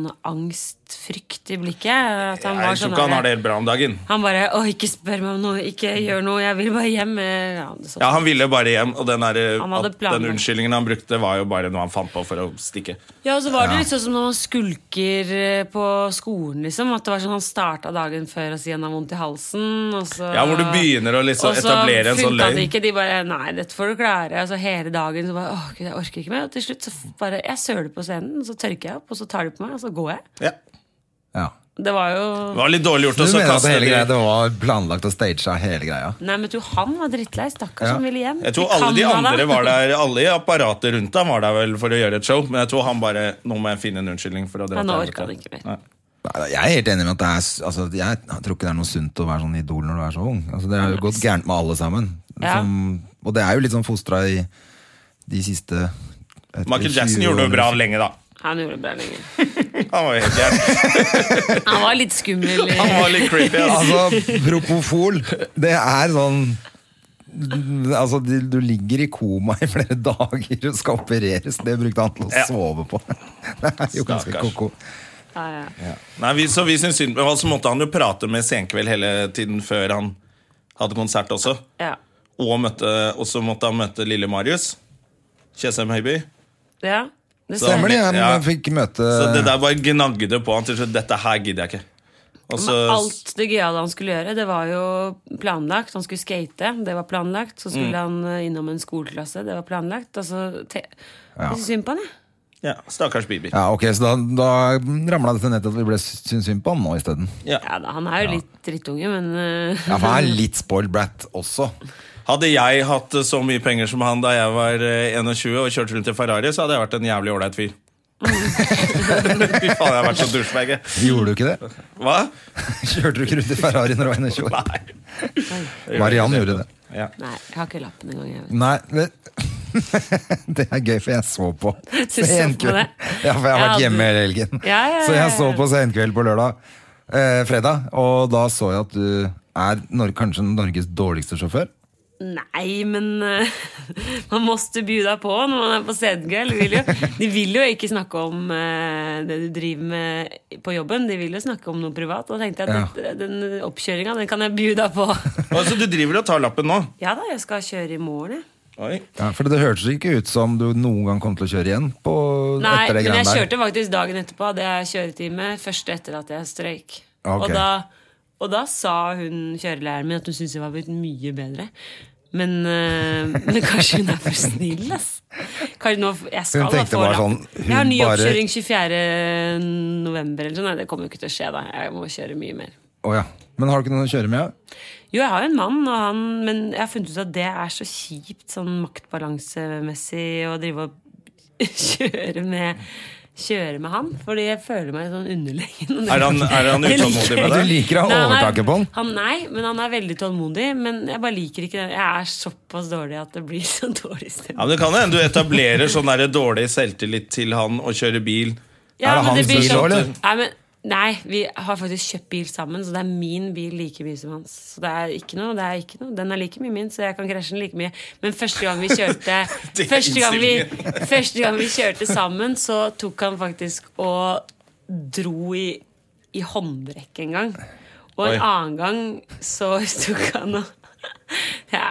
angstfrykt i blikket. At han var Jeg tror sånn ikke han der- har det helt bra om dagen. han bare 'Å, ikke spør meg om noe. Ikke gjør noe. Jeg vil bare hjem.' eh, Ja, det er sånn. Ja, Han ville bare hjem, og den, der, Han hadde at, den planlagt. unnskyldningen han brukte, var jo bare noe han fant på for å stikke. Ja, og så var det litt sånn som når man skulker eh, på skolen, liksom. At det var sånn han starta dagen før og sier han har vondt i halsen, og så Ja, hvor du begynner å liksom Og så etablere en sånn funka det løgn. ikke. De bare Nei, dette får du klare. Altså hele dagen så bare Åh, gud, jeg orker ikke mer. Og til slutt så bare Jeg søler på scenen, og så tørker jeg opp, og så tar de på meg, og så går jeg. Ja. Ja. Det var jo Det var litt dårlig Du gjort å så mener at kaste hele det greia, i- det var planlagt og staged hele greia? Nei, men du, han var drittlei. Stakkars, Ja. han ville hjem. Jeg tror Vi alle de kan ha andre det. var der Alle i apparatet rundt ham var der vel for å gjøre et show, men jeg tror han bare Nå må jeg finne en unnskyldning. for å dra Ja, nå til orker han helvete». ikke mer. Nei. Nei, Jeg er helt enig med at det er s- altså, Jeg tror ikke det er noe sunt å være sånn idol når du er så ung. Altså, det har jo gått gærent med alle sammen. Ja. Som, og det er jo litt sånn fostra i de siste jeg vet ikke, Michael Jackson 20 gjorde det årene. bra lenge, da. Han gjorde det bra lenge. Han var, jo helt jævlig. Han var litt skummel. eh. han var litt creepy. ass. Altså, propofol, det er sånn Altså, du, du ligger i koma i flere dager og skal opereres. Det brukte han til å Ja. sove på. Det er jo ganske Stakkars. ko-ko. Ja, ja. Nei, vi, så vi syns synd på ham. Så måtte han jo prate med Senkveld hele tiden før han hadde konsert også. ja. Og, møtte, og så måtte han møte lille Marius. Tjessem Høiby. ja. Det Så- Stemmer det, jeg Ja. fikk møte Så det der bare gnagde på han til slutt. Dette her gidder jeg ikke. Og så, Men alt det gøyale han skulle gjøre, det var jo planlagt. Han skulle skate, det var planlagt. Så skulle Mm. han eh, innom en skoleklasse, det var planlagt. Altså, te Jeg synes synd på han, jeg. ja, stakkars Bibi. Ja, ok, så da, da ramla dette nettet at vi ble syns synd på han nå isteden. Ja, da, han er jo litt drittunge, men eh, Ja, for han er litt spoiled brat også. Hadde jeg hatt eh, så mye penger som han da jeg var eh, 21 og kjørte rundt i Ferrari, så hadde jeg vært en jævlig ålreit fyr. Mm. Fy faen, jeg har vært så douchebag. jeg. Gjorde du ikke det? Hva? Kjørte du ikke rundt i Ferrari når du var 21 år? Nei. Mariann gjorde det. Ja. Nei, jeg har ikke lappen engang. Jeg. Nei, det, det er gøy, for jeg så på Du så på Senkveld. det? Ja, for jeg har vært Ja, du- hjemme hele helgen. Ja, ja, ja, Så jeg så ja. på Senkveld på lørdag, eh, fredag, og da så jeg at du er nor kanskje Norges dårligste sjåfør. Nei, men eh, man måste bjuda på når man er på scenegull. De vil jo- De vil jo ikke snakke om eh, det du driver med på jobben, de vil jo snakke om noe privat. Og da tenkte jeg at dette- den oppkjøringa, den kan jeg bjuda på. Og så du driver og tar lappen nå? Ja da, jeg skal kjøre i morgen, jeg. Oi. Ja, for det hørtes ikke ut som du noen gang kom til å kjøre igjen på, Nei, etter det men jeg greiene der. kjørte faktisk dagen etterpå. Hadde jeg kjøretime først etter at jeg strøyk. Ok. Og, da, og da sa hun kjørelæreren min at hun syntes jeg var blitt mye bedre. Men, eh, men kanskje hun er for snill, ass. Kanskje nå, jeg skal Hun da tenkte få bare lappen. sånn, hun Jeg har ny bare- oppkjøring 24. november eller sånn. Nei, det kommer jo ikke til å skje, da. Jeg må kjøre mye mer. Å ja. Men har du ikke noen å kjøre med? ja? Jo, jeg har jo en mann, og han, men jeg har funnet ut at det er så kjipt sånn maktbalansemessig å drive og kjøre med Kjøre med han, fordi jeg føler meg sånn underlegen. Er han, er han Jeg liker- utålmodig med Du deg? liker Nei, å ha han er- overtaket på den? han? Nei, men han er veldig tålmodig. Men jeg bare liker ikke det. Jeg er såpass dårlig at det blir så dårlig stemning. Ja, men det kan hende du etablerer sånn der dårlig selvtillit til han og kjører bil. Er det men hans blir bil sånn- også, eller? Nei, men Nei, vi har faktisk kjøpt bil sammen, så det er min bil like mye som hans. Så det er ikke noe, det er ikke noe. Den er like mye min, så jeg kan krasje den like mye. Men første gang vi kjørte Det er første, gang vi, innstillingen. første gang vi kjørte sammen, så tok han faktisk og dro i, i håndbrekket en gang. Og en Oi. annen gang så tok han og ja.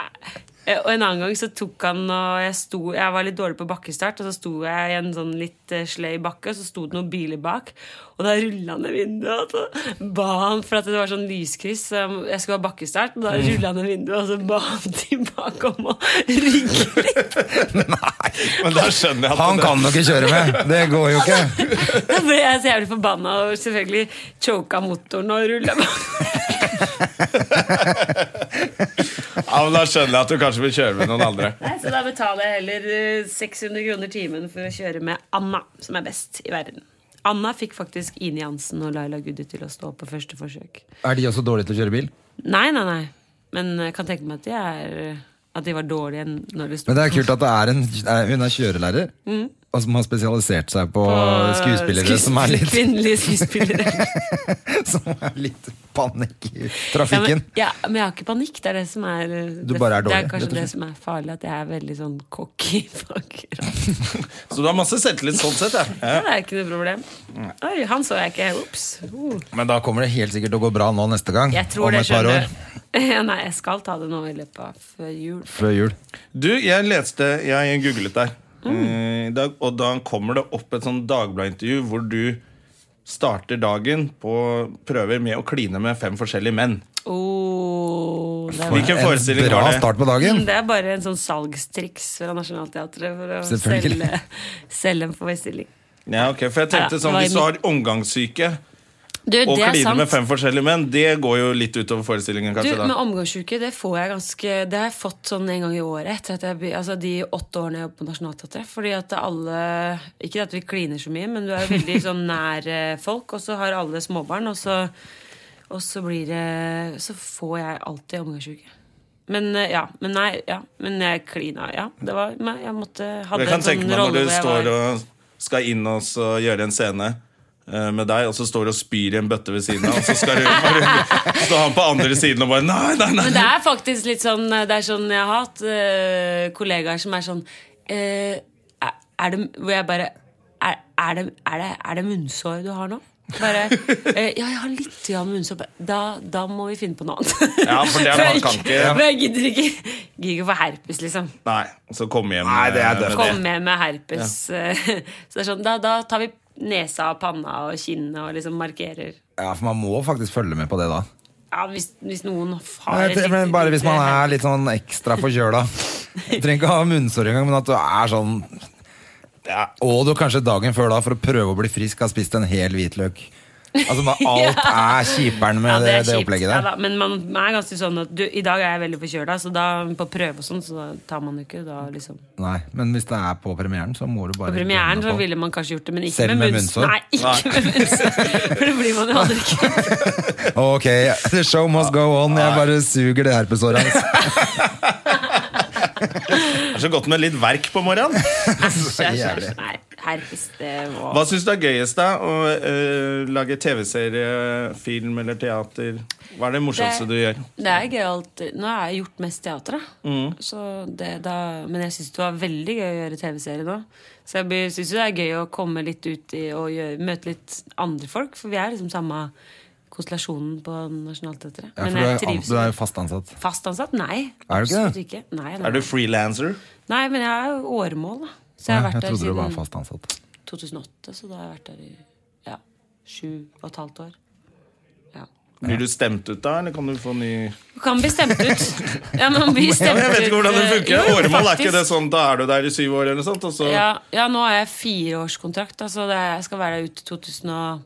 Eh, Og en annen gang så tok han og jeg, sto, jeg var litt dårlig på bakkestart, og så sto jeg i en sånn litt eh, sløy bakke, og så sto det noen biler bak. Og da rulla han ned vinduet, og så ba han for at det var sånn lyskryss. så Jeg skulle ha bakkestart, og da rulla han ned vinduet, og så ba han tilbake om å rygge litt. Men da skjønner jeg at Han det- kan du ikke kjøre med! Det går jo ikke. Da ble jeg så jævlig forbanna og selvfølgelig choka motoren og rulla Ja, men da skjønner jeg at du kanskje vil kjøre med noen andre. Så da betaler jeg heller eh, 600 kroner timen for å kjøre med Anna, som er best i verden. Anna fikk faktisk Ine Jansen og Laila Gudde til å stå på første forsøk. Er de også dårlige til å kjøre bil? Nei, nei, nei. Men jeg kan tenke meg at de, er, at de var dårlige enn når de sto Men det er kult at det er en, eh, hun er kjørelærer, Mm. og som har spesialisert seg på skuespillere som er litt, Kvinnelige skuespillere. som er litt panikk i Ja, men, trafikken. ja, men jeg har ikke panikk. Det er det som er Du bare er Det dårlig, er kanskje rett og det slett. som er farlig, at jeg er veldig sånn cocky. fucker. Så du har masse selvtillit sånn sett. jeg. Ja. Ja, Det er ikke noe problem. Oi, han så jeg ikke. Ops. Uh. Men da kommer det helt sikkert til å gå bra nå neste gang. Jeg tror om det et par skjønner. år. Ja, Nei, jeg skal ta det nå i løpet av før jul. Før jul. Du, jeg leste, jeg googlet deg eh, i dag, og da kommer det opp et sånn Dagbladet-intervju hvor du starter dagen på prøver med å kline med fem forskjellige menn. Oh, det, er, Hvilken forestilling bra var det? start på dagen. det er bare en sånn salgstriks fra Nationaltheatret for å Selvfølgelig. selge, selge en forestilling. Ja, ok, for jeg tenkte Ja, hva sånn, er Hvis du har omgangssyke Du, og det er kliner sant. med fem forskjellige menn, det går jo litt utover forestillingen, Du, kanskje. med da omgangsuke, det får jeg ganske Det har jeg fått sånn en gang i året etter at jeg, be- altså de åtte årene jeg jobbet på Nationaltheatret. Fordi at alle Ikke at vi kliner så mye, men du er jo veldig sånn nær eh, folk, og så har alle småbarn, og så, og så blir det Så får jeg alltid omgangsuke. Men eh, ja. Men nei, ja. Men jeg klina, ja. Det var meg. Jeg måtte Jeg Hadde kan en tenke sånn meg når rolle du hvor jeg står var og skal inn og så gjøre en scene eh, med deg, og så står du og spyr i en bøtte ved siden av, og så skal du bare stå han på andre siden og bare Nei, nei, nei! Men det er faktisk litt sånn Det er sånn jeg har hatt eh, kollegaer som er sånn eh, er, er det, Hvor jeg bare er, er, det, er, det, er det munnsår du har nå? Bare, eh, ja, jeg har litt grann munnsår. Bare, Da, da må vi finne på noe annet. Ja, for det er noe han kan ikke. For jeg gidder ikke Gidder ikke å få herpes, liksom. Nei, så kom hjem. Nei, det er eh, med døft. Komme med med herpes. eh, Så det er sånn, da, da tar vi nesa og panna og kinnet og liksom markerer. Ja, for man må faktisk følge med på det da. Ja, hvis, hvis noen har Nei, et det- men riktig- bare hvis man er litt sånn ekstra forkjøla. Du trenger ikke ha munnsår engang, men at du er sånn ja, Og du kanskje dagen før da, for å prøve å bli frisk, har spist en hel hvitløk. Altså, bare Alt er kjiperen med Ja, det, er det kjipt. opplegget Ja, der. da. Men man man er ganske sånn at du, i dag er jeg veldig forkjøla, så da på prøve og sånn, så da tar man jo ikke da liksom På Nei, Men hvis det er på premieren, så må du bare premieren gønne så på. ville man kanskje gjort det, men ikke Selv med med munnsår. munnsår? Nei, ikke med munnsår. For det blir man jo aldri ikke. Ok, the show must go on. Jeg bare suger det herpesåret hans. Det er så godt med litt verk på morgenen. Æsj, æsj, æsj. jævlig. Nei, herpes, det var Hva syns du er gøyest, da? Å eh, lage TV-serie, film eller teater? Hva er det morsomste Det- du gjør? det er gøyalt. Nå har jeg gjort mest teater, da. Mm. Så det, da men jeg syns det var veldig gøy å gjøre TV-serie nå. Så jeg syns det er gøy å komme litt ut i, og gjøre, møte litt andre folk, for vi er liksom samme konstellasjonen på Nationaltheatret. Ja, for men du, jeg er, an- trives du er jo fast ansatt. fast ansatt. Nei. Er du ikke absolutt det? ikke? Nei, nei. Er du frilanser? nei, men jeg er jo åremål, da. Så jeg Jeg, har vært der trodde du var siden fast ansatt. 2008, så da har jeg vært der i ja, sju og et halvt år. Ja. Blir du stemt ut da, eller kan du få ny Du kan bli stemt ut. Ja, men bli stemt ut. eh, Jeg vet ikke hvordan det funker. Jo, jo, Åremål er faktisk. ikke det sånn da er du der i syv år, eller noe sånt? Og så Ja, ja, nå har jeg fireårskontrakt. Altså det, er- jeg skal være der ut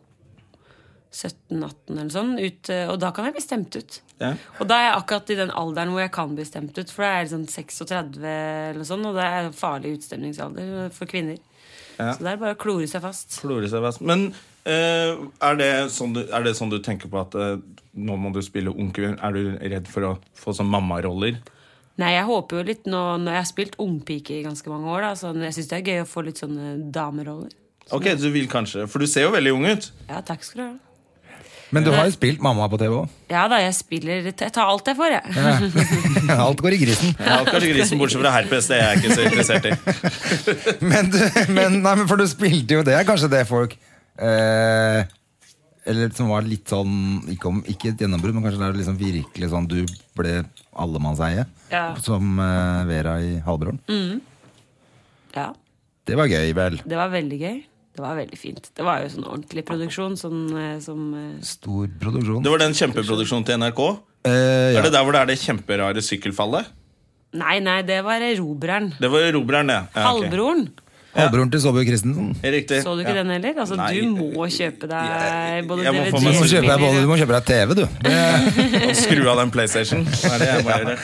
2017-18 eller sånn. Ut, eh, og da kan jeg bli stemt ut. Ja. Og da er jeg akkurat i den alderen hvor jeg kan bli stemt ut. For da er jeg sånn 36 eller noe sånt, og det er en farlig utstemningsalder for kvinner. Så det er bare å klore seg fast. klorer seg best. Men eh, er, det sånn du, er det sånn du tenker på at eh, nå må du spille onkel? Er du redd for å få sånn mammaroller? Nei, jeg håper jo litt nå når jeg har spilt ungpike i ganske mange år, da, så jeg syns det er gøy å få litt sånne dameroller. Ok, du vil kanskje For du ser jo veldig ung ut. Ja, takk skal du ha. Men du har jo spilt mamma på TV òg. Ja da, jeg spiller Jeg tar alt jeg får, jeg. Alt går i grisen. Ja, kanskje grisen bortsett fra herpes, det er jeg ikke så interessert i. Men, du, men, nei, men for du spilte jo det, er kanskje det folk eh, Eller som var litt sånn Ikke, om, ikke et gjennombrudd, men kanskje det er liksom virkelig sånn du ble allemannseie. Ja. Mm. Som eh, Vera i Halvbroren. Ja, Det var gøy, vel? Det var veldig gøy. Det var veldig fint. Det var jo sånn ordentlig produksjon. Sånn eh, som eh, Stor produksjon. Det var den kjempeproduksjonen til NRK. Eh, ja. Er det der hvor det er det kjemperare sykkelfallet? Nei, nei, det var Erobreren. Det var Robreren, det. Ja, ok. Halvbroren. Halvbroren til Saabye Christensen. Riktig. Så du ikke Ja. den heller? Altså, Nei, du må kjøpe jeg- deg både jeg må få Du må meg kjøpe deg, både- du DVD-er må kjøpe deg TV, du. Det, Og skru av den PlayStation. Det er det jeg må gjøre.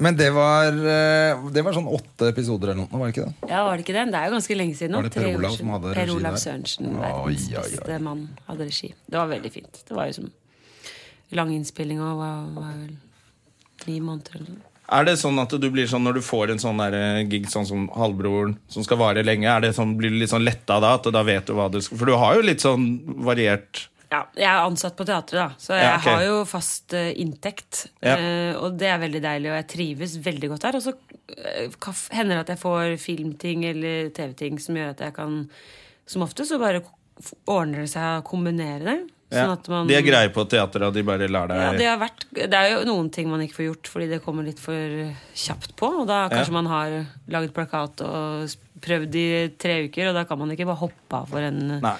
men det var, eh, det var sånn åtte episoder eller noe, var det ikke det? Ja, var det ikke den? Det er jo ganske lenge siden nå. Var det Per tre år Olav siden. som hadde Per regi Olav der? Sørensen, Oi, verdens oi, oi. beste mann, hadde regi. Det var veldig fint. Det var jo som lang innspilling og var, var vel ni måneder eller noe. Er det sånn at du blir sånn når du får en sånn der eh, gig sånn som Halvbroren, som skal vare lenge, er det sånn, blir du litt sånn letta da? At da vet du hva du skal For du har jo litt sånn variert Ja, jeg er ansatt på teatret, da, så jeg Ja, ok. har jo fast eh, inntekt. Ja. eh, og det er veldig deilig, og jeg trives veldig godt der. Og så eh, kaff- hender det at jeg får filmting eller TV-ting som gjør at jeg kan Som ofte så bare ko- f- ordner det seg å kombinere det. ja. Sånn at man De er greie på teater, og de bare lar deg Ja, det, har vært, det er jo noen ting man ikke får gjort fordi det kommer litt for kjapt på. Og da kanskje Ja. man har laget plakat og s- prøvd i tre uker, og da kan man ikke bare hoppe av for en Nei.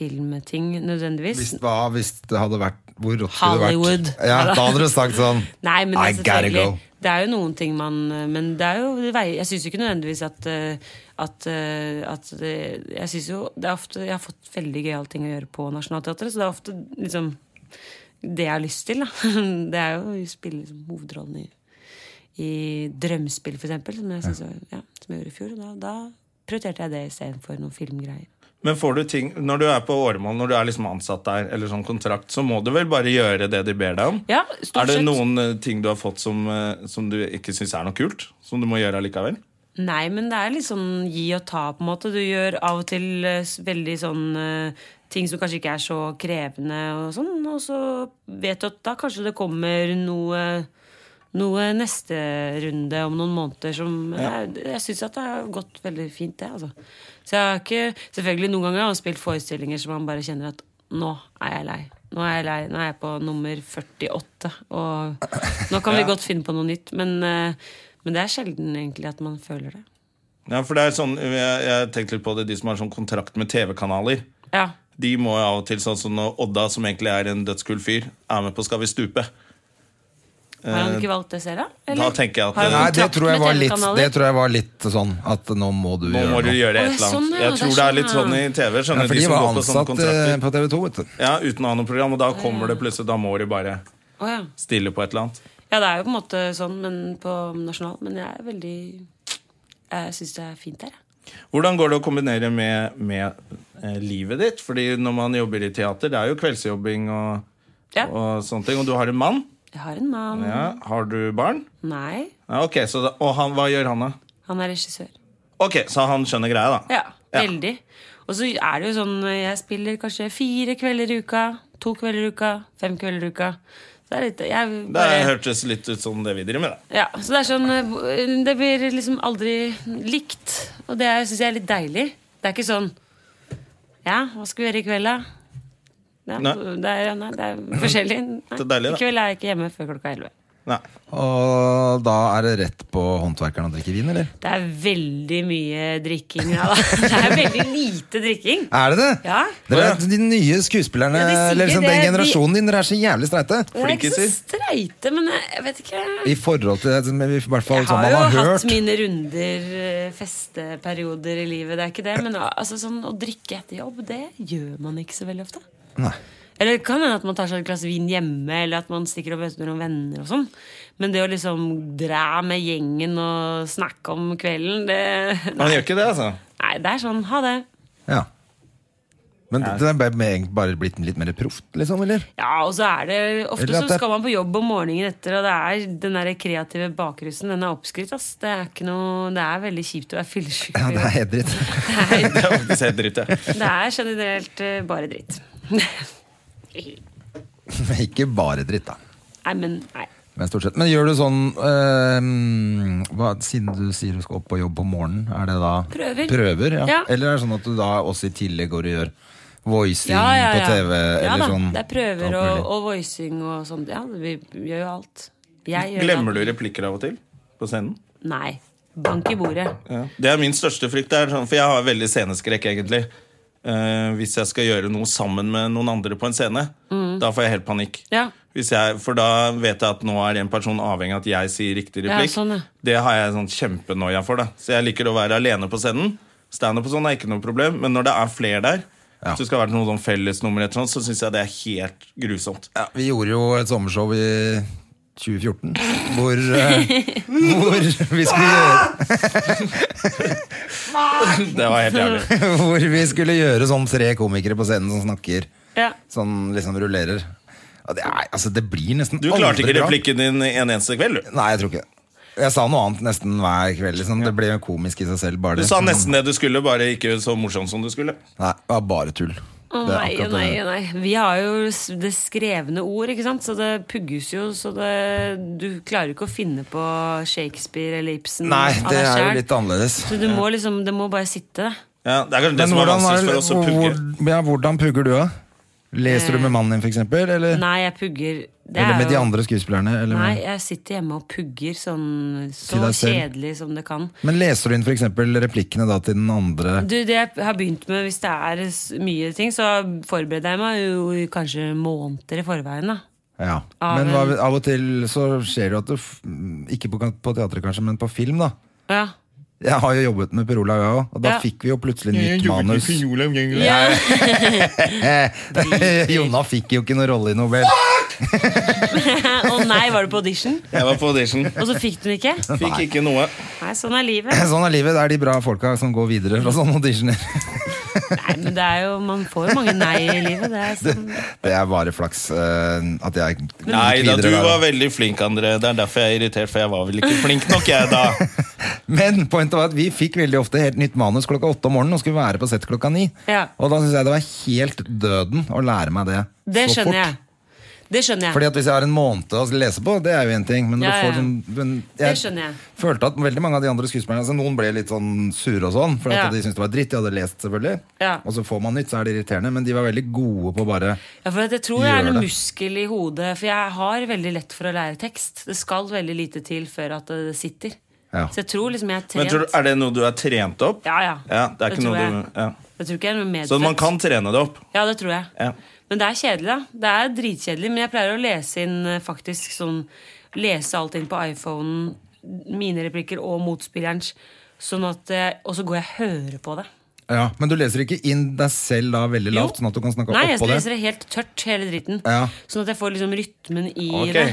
filmting nødvendigvis. Hvis, hva, hvis det hadde vært Hvor rått skulle det vært? Hollywood. Ja, da hadde du sagt sånn Nei, men det I er gotta go. selvfølgelig Det er jo noen ting man eh, Men det er jo det veier- Jeg syns ikke nødvendigvis at eh, at, eh, at det, Jeg synes jo det er ofte Jeg har fått veldig gøyale ting å gjøre på Nationaltheatret, så det er ofte liksom det jeg har lyst til. Da. Det er jo å spille liksom, hovedrollen i, i Drømmespill, for eksempel, som jeg, synes, var- ja, som jeg gjorde i fjor. Og da, da prioriterte jeg det istedenfor noen filmgreier. Men får du ting Når du er på Åremål, når du er liksom ansatt der, eller sånn kontrakt, så må du vel bare gjøre det de ber deg om? Ja, er stort det sett. noen eh, ting du har fått som, eh, som du ikke syns er noe kult? Som du må gjøre allikevel? Nei, men det er litt sånn gi og ta, på en måte. Du gjør av og til eh, s- veldig sånn eh, ting som kanskje ikke er så krevende, og sånn, og så vet du at da kanskje det kommer noe noe neste runde om noen måneder som eh, Jeg, jeg syns at det har gått veldig fint, det, altså. Så jeg har ikke Selvfølgelig, noen ganger har man spilt forestillinger som man bare kjenner at nå er jeg lei. Nå er jeg lei, nå er jeg på nummer 48, og nå kan vi godt finne på noe nytt. Men, eh, men det er sjelden egentlig at man føler det. Ja, for det er sånn, jeg, jeg har tenkt litt på det, de som har sånn kontrakt med TV-kanaler. Ja, De må jo av og til sånn som når Odda, som egentlig er en dødskul fyr, er med på Skal vi stupe. Har han ikke valgt det selv, da? Eh, Da tenker jeg at, Har han Nei, det kontrakt tror jeg, med var litt, TV-kanaler? det tror jeg var litt sånn at nå må du Nå gjøre må du noe. gjøre Å, et det er eller sånn, annet. ja, det Jeg er tror det er litt sånn, sånn i ja. TV. Ja, skjønner du, for de de som var går på sånne ansatt eh, kontrakter. på TV 2, vet du. Ja, Uten å ha noe program, og da kommer det plutselig. Da må de bare Å, ja. stille på et eller annet. ja, det er jo på en måte sånn men på nasjonal, men jeg er veldig Jeg syns det er fint der, jeg. Hvordan går det å kombinere med, med eh, livet ditt? Fordi når man jobber i teater, det er jo kveldsjobbing og, Ja. og sånne ting. Og du har en mann. Jeg har en mann. Ja. Har du barn? Nei, Ja, ok, så da, Og han, hva gjør han, da? han er regissør. Ok, Så han skjønner greia, da. Ja, veldig. Og så er det jo sånn Jeg spiller kanskje fire kvelder i uka, to kvelder i uka, fem kvelder i uka. Så det er litt jeg Det bare, hørtes litt ut som det vi driver med. da. ja, Så det er sånn eh, Det blir liksom aldri likt. Og det syns jeg er litt deilig. Det er ikke sånn Ja, hva skal vi gjøre i kveld, da? Ja, Nei. Det, er, nei, det er forskjellig. Nei, Det er deilig, da. I kveld er jeg ikke hjemme før klokka elleve. Nei. Og da er det rett på håndverkeren å drikke vin, eller? Det er veldig mye drikking. Ja, da. Det er veldig lite drikking. Er det det? Ja. Dere er- de nye skuespillerne, Ja, de sier eller liksom, den det, de- generasjonen din, dere er så jævlig streite. Dere er ikke så Flinkiser. streite, men jeg jeg vet ikke. I forhold til det som vi- i hvert fall Jeg som har man jo har hatt hørt. mine runder, eh, festeperioder i livet, det er ikke det. Men ah, altså, sånn, å drikke etter jobb, det gjør man ikke så veldig ofte. Nei. Eller det kan hende at man tar seg et glass vin hjemme, eller at man stikker og møter noen venner og sånn. Men det å liksom dra med gjengen og snakke om kvelden, det Han Nei, gjør ikke det, altså. nei det er sånn. Ha det. Ja. Men det det er bare- egentlig bare blitt litt mer proft, liksom, eller? Ja, og så er det Ofte Eller at så det- skal man på jobb om morgenen etter, og det er den der kreative bakrusen. Den er oppskrytt, ass. Det er ikke noe Det er veldig kjipt å være fyllesyk. Ja, det er helt dritt. Det er faktisk helt dritt, ja. Det er generelt eh, bare dritt. Ikke bare dritt, da. Nei, men nei. Men stort sett. Men gjør du sånn eh, hva, Siden du sier du skal opp og jobbe på morgenen, er det da Prøver. ja. Ja. Eller er det såning at du da også i tillegg går og gjør voicing Ja, ja, ja. på TV? ja, eller da. sånn, Det er prøver alt mulig. og, og voicing og sånn. Ja, vi gjør jo alt. Jeg gjør Glemmer alt. du replikker av og til på scenen? Nei. Bank i bordet. Det er min største frykt, det er sånn, for jeg har veldig sceneskrekk, egentlig. Eh, hvis jeg skal gjøre noe sammen med noen andre på en scene, da får jeg helt panikk. Mm. Ja. Hvis jeg, for da vet jeg at nå er en person avhengig av at jeg sier riktig Ja, replikk. sånn, ja. Det har jeg sånn kjempenoia for. da Så jeg liker å være alene på scenen. Standup og sånn er ikke noe problem, men når det er flere der, Ja. hvis det skal være noe sånn fellesnummer, eller sånt, så syns jeg det er helt grusomt. Ja, vi gjorde jo et sommershow i 2014 hvor, eh, hvor vi skulle gjøre Det var helt jævlig. Hvor vi skulle gjøre sånn tre komikere på scenen som snakker. Ja. Sånn liksom rullerer. Og det, er, altså, det blir nesten Du klarte ikke aldri bra. replikken din en eneste kveld, du. Nei, jeg tror ikke det. Jeg sa noe annet nesten hver kveld. Liksom. Det ble jo komisk i seg selv. Bare Du det. sånn- sa nesten det du skulle, bare ikke så morsomt som du skulle. Nei, det var bare tull. Å Det er nei, å akkurat nei, det. å nei. Vi har jo s- det skrevne ord, ikke sant? så det pugges jo. Så det, du klarer ikke å finne på Shakespeare eller Ibsen Nei, av det deg er jo selv. litt annerledes. Så du må liksom, det må bare sitte. Ja, det er kanskje det Men som er hvordan, er, vanskeligst for oss å pugge. hvor, ja, hvordan pugger du, da? Leser du med mannen din, for eksempel? Eller, Eh, Nei, jeg pugger. Det eller er med de jo- andre skuespillerne? Eller Nei, med, jeg sitter hjemme og pugger sånn så Til deg selv. kjedelig som det kan. men leser du inn for eksempel replikkene da til den andre? Du, det jeg har begynt med, hvis det er s- mye ting, så forbereder jeg meg jo i kanskje måneder i forveien, da. Ja, Av men en- hva, av og til så skjer det jo at du, f- Ikke på, på teatret kanskje, men på film da Ja. Jeg har jo jobbet med Per Olav jeg også Og da Ja. fikk vi jo plutselig nytt manus Jonna fikk jo ikke noen rolle i Nobel Å nei, var du på audition? Jeg var på audition. Og så fikk du den ikke? Fikk ikke noe. Nei, sånn er livet. Sånn er livet, det er de bra folka som går videre fra sånne auditioner Nei, men det er jo, man får jo mange nei i livet. Det er sånn. Det er bare flaks eh, at jeg gikk Nei da, videre du der. var veldig flink, André. Det er derfor jeg er irritert, for jeg var vel ikke flink nok, jeg, da. Men pointet var at vi fikk veldig ofte helt nytt manus klokka åtte om morgenen og skulle være på sett klokka ni. Ja. Og da syns jeg det var helt døden å lære meg det, Det så fort. skjønner jeg. Det skjønner jeg. Fordi at Hvis jeg har en måned å lese på, det er jo én ting. Men, når Ja, du får ja. sånn, men Det skjønner jeg. følte at veldig mange av de andre skuespillerne altså Noen ble litt sånn sure og sånn, for at Ja. de syntes det var dritt. De hadde lest, selvfølgelig. Ja. Og så får man nytt, så er det irriterende. Men de var veldig gode på bare Ja, for at jeg tror det er Gjør en det. muskel i hodet, for jeg har veldig lett for å lære tekst. Det skal veldig lite til før at det sitter. Ja. Så jeg tror liksom jeg er Men trent. tror du, Er det noe du er trent opp? Ja, ja. det er Det ikke tror noe jeg. du, ja. Jeg tror ikke jeg er noe medfødt. Så man kan trene det opp. Ja, det tror jeg. Ja. Men det er kjedelig, da. Det er dritkjedelig. Men jeg pleier å lese inn eh, faktisk sånn Lese alt inn på iPhonen, mine replikker og motspillerens, sånn at eh, Og så går jeg og hører på det. ja. Men du leser ikke inn deg selv da veldig Jo. lavt, sånn at du kan snakke Nei, jeg oppå det? leser det helt tørt, hele dritten. Ja. Sånn at jeg får liksom rytmen i Ok. det.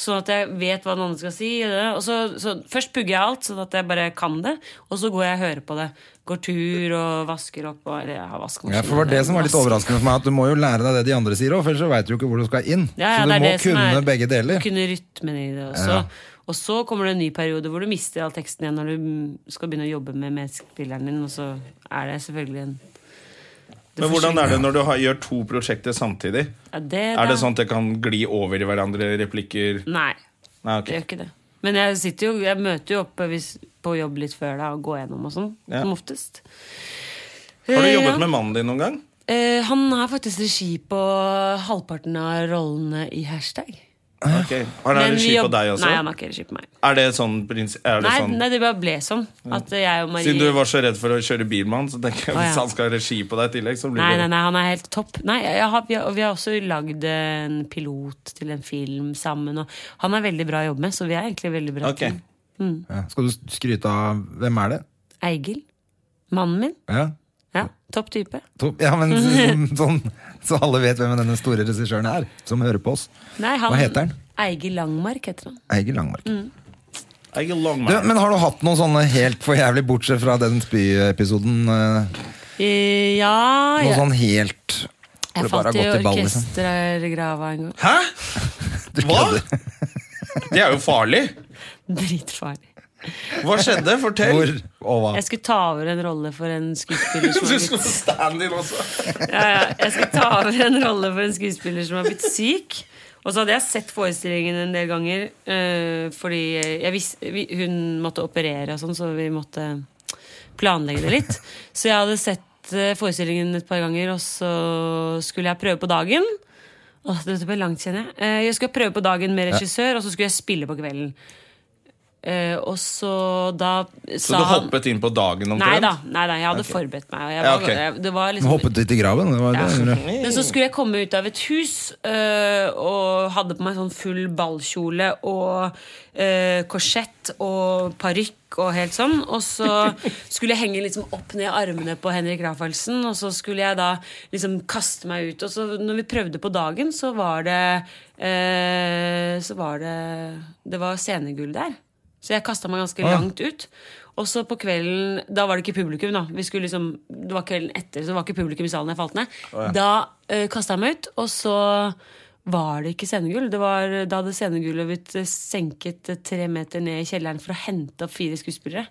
Sånn at jeg vet hva den andre skal si. eh, Og så, så Først pugger jeg alt, sånn at jeg bare kan det. Og så går jeg og hører på det. Går tur og vasker opp. Og, eller jeg har vaskemaskin. Ja, for det var det som var litt Vasker. overraskende for meg, at du må jo lære deg det de andre sier òg, for ellers så veit du jo ikke hvor du skal inn. Ja, ja, så du det er må det som kunne er- begge deler. Kunne rytmen i det også. Og så kommer det en ny periode hvor du mister all teksten igjen når du mm, skal begynne å jobbe med medspilleren din, og så er det selvfølgelig en det Men hvordan forsvinner. er det når du har, gjør to prosjekter samtidig? Ja, det, Er det da- Mm. sånn at det kan gli over i hverandre replikker? Nei, Nei, det gjør ok. ikke det. Men jeg sitter jo Jeg møter jo opp hvis, på jobb litt før da og går gjennom og sånn, Ja. som oftest. Har du Eh, ja. jobbet med mannen din noen gang? Eh, han har faktisk regi på halvparten av rollene i hashtag. Ok. Har han Men vi regi på jobb- deg også? Nei, han har ikke regi på meg. Er det sånn prins... Er det Nei, sånn nei, det bare ble sånn. At jeg og Marie Siden du var så redd for å kjøre bil med han, så tenker Å, jeg ja. hvis han skal ha regi på deg i tillegg, så blir Nei, det nei, nei, han er helt topp. Nei, jeg har, vi, har, vi har også lagd en pilot til en film sammen. Og han er veldig bra å jobbe med, så vi er egentlig veldig bra. Ok. team. Ja. Skal du skryte av Hvem er det? Eigil. Mannen min. Ja, Ja, Topp type. to, ja men sånn, sånn, Så alle vet hvem denne store regissøren er, som hører på oss. Nei, han, Hva heter han? Eigil Langmark heter han. Eigil Langmark. Mm. Jeg er ikke lang, Du, mann. men har du hatt noen sånne helt for jævlig, bortsett fra den spyepisoden? eh, Eh, ja Noe jeg, sånn helt hvor jeg det bare har falt i gått i ball, liksom? orkestergrava en gang. Hæ? Du Hva? kødder. Det er jo farlig! Dritfarlig. Hva skjedde? Fortell! Hvor og hva? Jeg skulle ta over en rolle for en skuespiller som Du har skulle blitt på stand-in også. ja, ja. Jeg skulle ta over en rolle for en skuespiller som har blitt syk. Og så hadde jeg sett forestillingen en del ganger, eh, fordi jeg vis, vi, hun måtte operere og sånn, så vi måtte planlegge det litt. Så jeg hadde sett eh, forestillingen et par ganger, og så skulle jeg prøve på dagen. Åh, dette ble langt, kjenner jeg. Eh, Jeg skulle prøve på dagen med regissør, og så skulle jeg spille på kvelden. Eh, og så da Så du hoppet inn på dagen Nei omtrent? da, nei da, jeg hadde forberedt meg. Og jeg Ja, var, ok. jeg, det var liksom, Hoppet litt i graven. Det var det. jeg gjorde. men så skulle jeg komme ut av et hus øh, og hadde på meg sånn full ballkjole og øh, korsett og parykk og helt sånn. Og så skulle jeg henge liksom opp ned armene på Henrik Rafaelsen, og så skulle jeg da liksom kaste meg ut. Og så når vi prøvde på dagen, så var det øh, Så var det Det var scenegull der. Så jeg kasta meg ganske langt ut. Og så på kvelden Da var det ikke publikum, da. Vi skulle liksom, det var kvelden etter, så det var ikke publikum i salen jeg falt ned. Da uh, kasta jeg meg ut, og så var det ikke scenegull. Det var, da hadde scenegullet blitt eh, senket eh, tre meter ned i kjelleren for å hente opp fire skuespillere.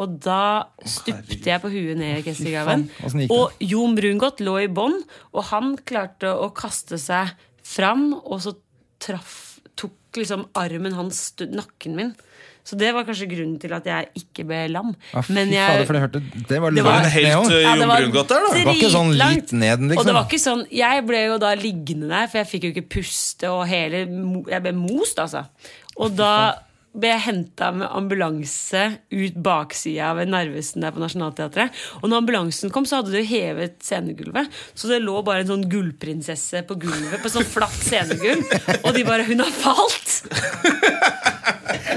Og da stupte jeg på huet ned i orkestergraven. Åssen gikk det? Og Jon Brungot lå i bånn, og han klarte å kaste seg fram, og så traff, tok liksom armen hans stu- nakken min. Så det var kanskje grunnen til at jeg ikke ble lam. Ja, Ah, fy Men jeg, fader, for jeg hørte Det var Det var- Var langt det ned helt også. eh, Ja, det Jon var Brungot der, da? Det var ikke sånn dritlangt. litt ned, liksom. Og det var ikke sånn, jeg ble jo da liggende der, for jeg fikk jo ikke puste, og hele, mo- jeg ble most, altså. Og da ble jeg henta med ambulanse ut baksida ved Narvesen der på Nationaltheatret. Og når ambulansen kom, så hadde de jo hevet scenegulvet. Så det lå bare en sånn gullprinsesse på gulvet, på sånn flatt scenegulv. Og de bare 'Hun har falt!'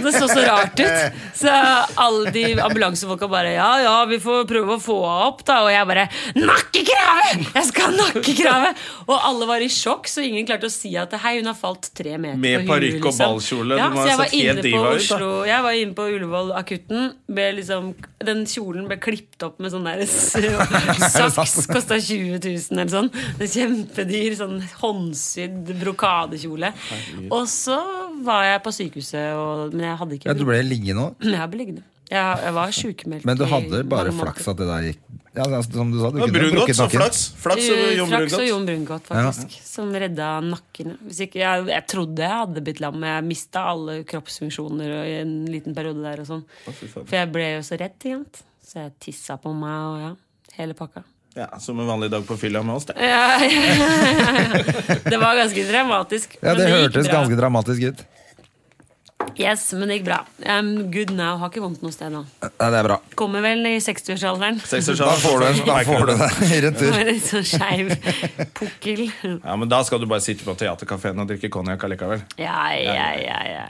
Det så så rart ut. Så alle de ambulansefolka bare Ja, ja, vi får prøve å få henne opp, da. Og jeg bare Nakkekrave! Jeg skal ha nakkekrave! Og alle var i sjokk, så ingen klarte å si at hei, hun har falt tre meter på Med huet, parykk og liksom. ballkjole, Ja, du så må ha jeg var sett helt inne diva på ut, da. Oslo Jeg var inne på Ullevål akutten. Ble liksom, den kjolen ble klippet opp med sånn der s- saks. Kosta 20 000 eller sånn. Det er kjempedyr, sånn håndsydd brokadekjole. Og så var jeg på sykehuset, og, men jeg hadde ikke Ja, du ble liggende òg. Jeg ble liggende. Jeg, jeg var sjukmeldt. Men du i hadde bare mange måneder. flaks at det der gikk ja, altså, Som du sa, du Ja, kunne Brungot, brukket så nakken. flaks. Flaks og Eh, Jon Flaks og Brungot. Jon Brungot, faktisk. Som redda nakken. Hvis ikke, jeg, jeg trodde jeg hadde blitt lam, men jeg mista alle kroppsfunksjoner og i en liten periode der. og sånn For jeg ble jo så redd, ikke sant. Så jeg tissa på meg og ja. Hele pakka. Ja, Som en vanlig dag på fylla med oss, det. Ja, ja, ja, ja. Det var ganske dramatisk. Ja, men det gikk hørtes bra. ganske dramatisk ut. Yes, men det gikk bra. Um, good now. Har ikke vondt noe sted nå. Ja, det er bra. Kommer vel i 60-årsalderen. Da får du, en- da får du det i retur. Med litt sånn skeiv pukkel. Ja, men Da skal du bare sitte på teaterkafeen og drikke konjakk allikevel. Ja, ja, ja, ja.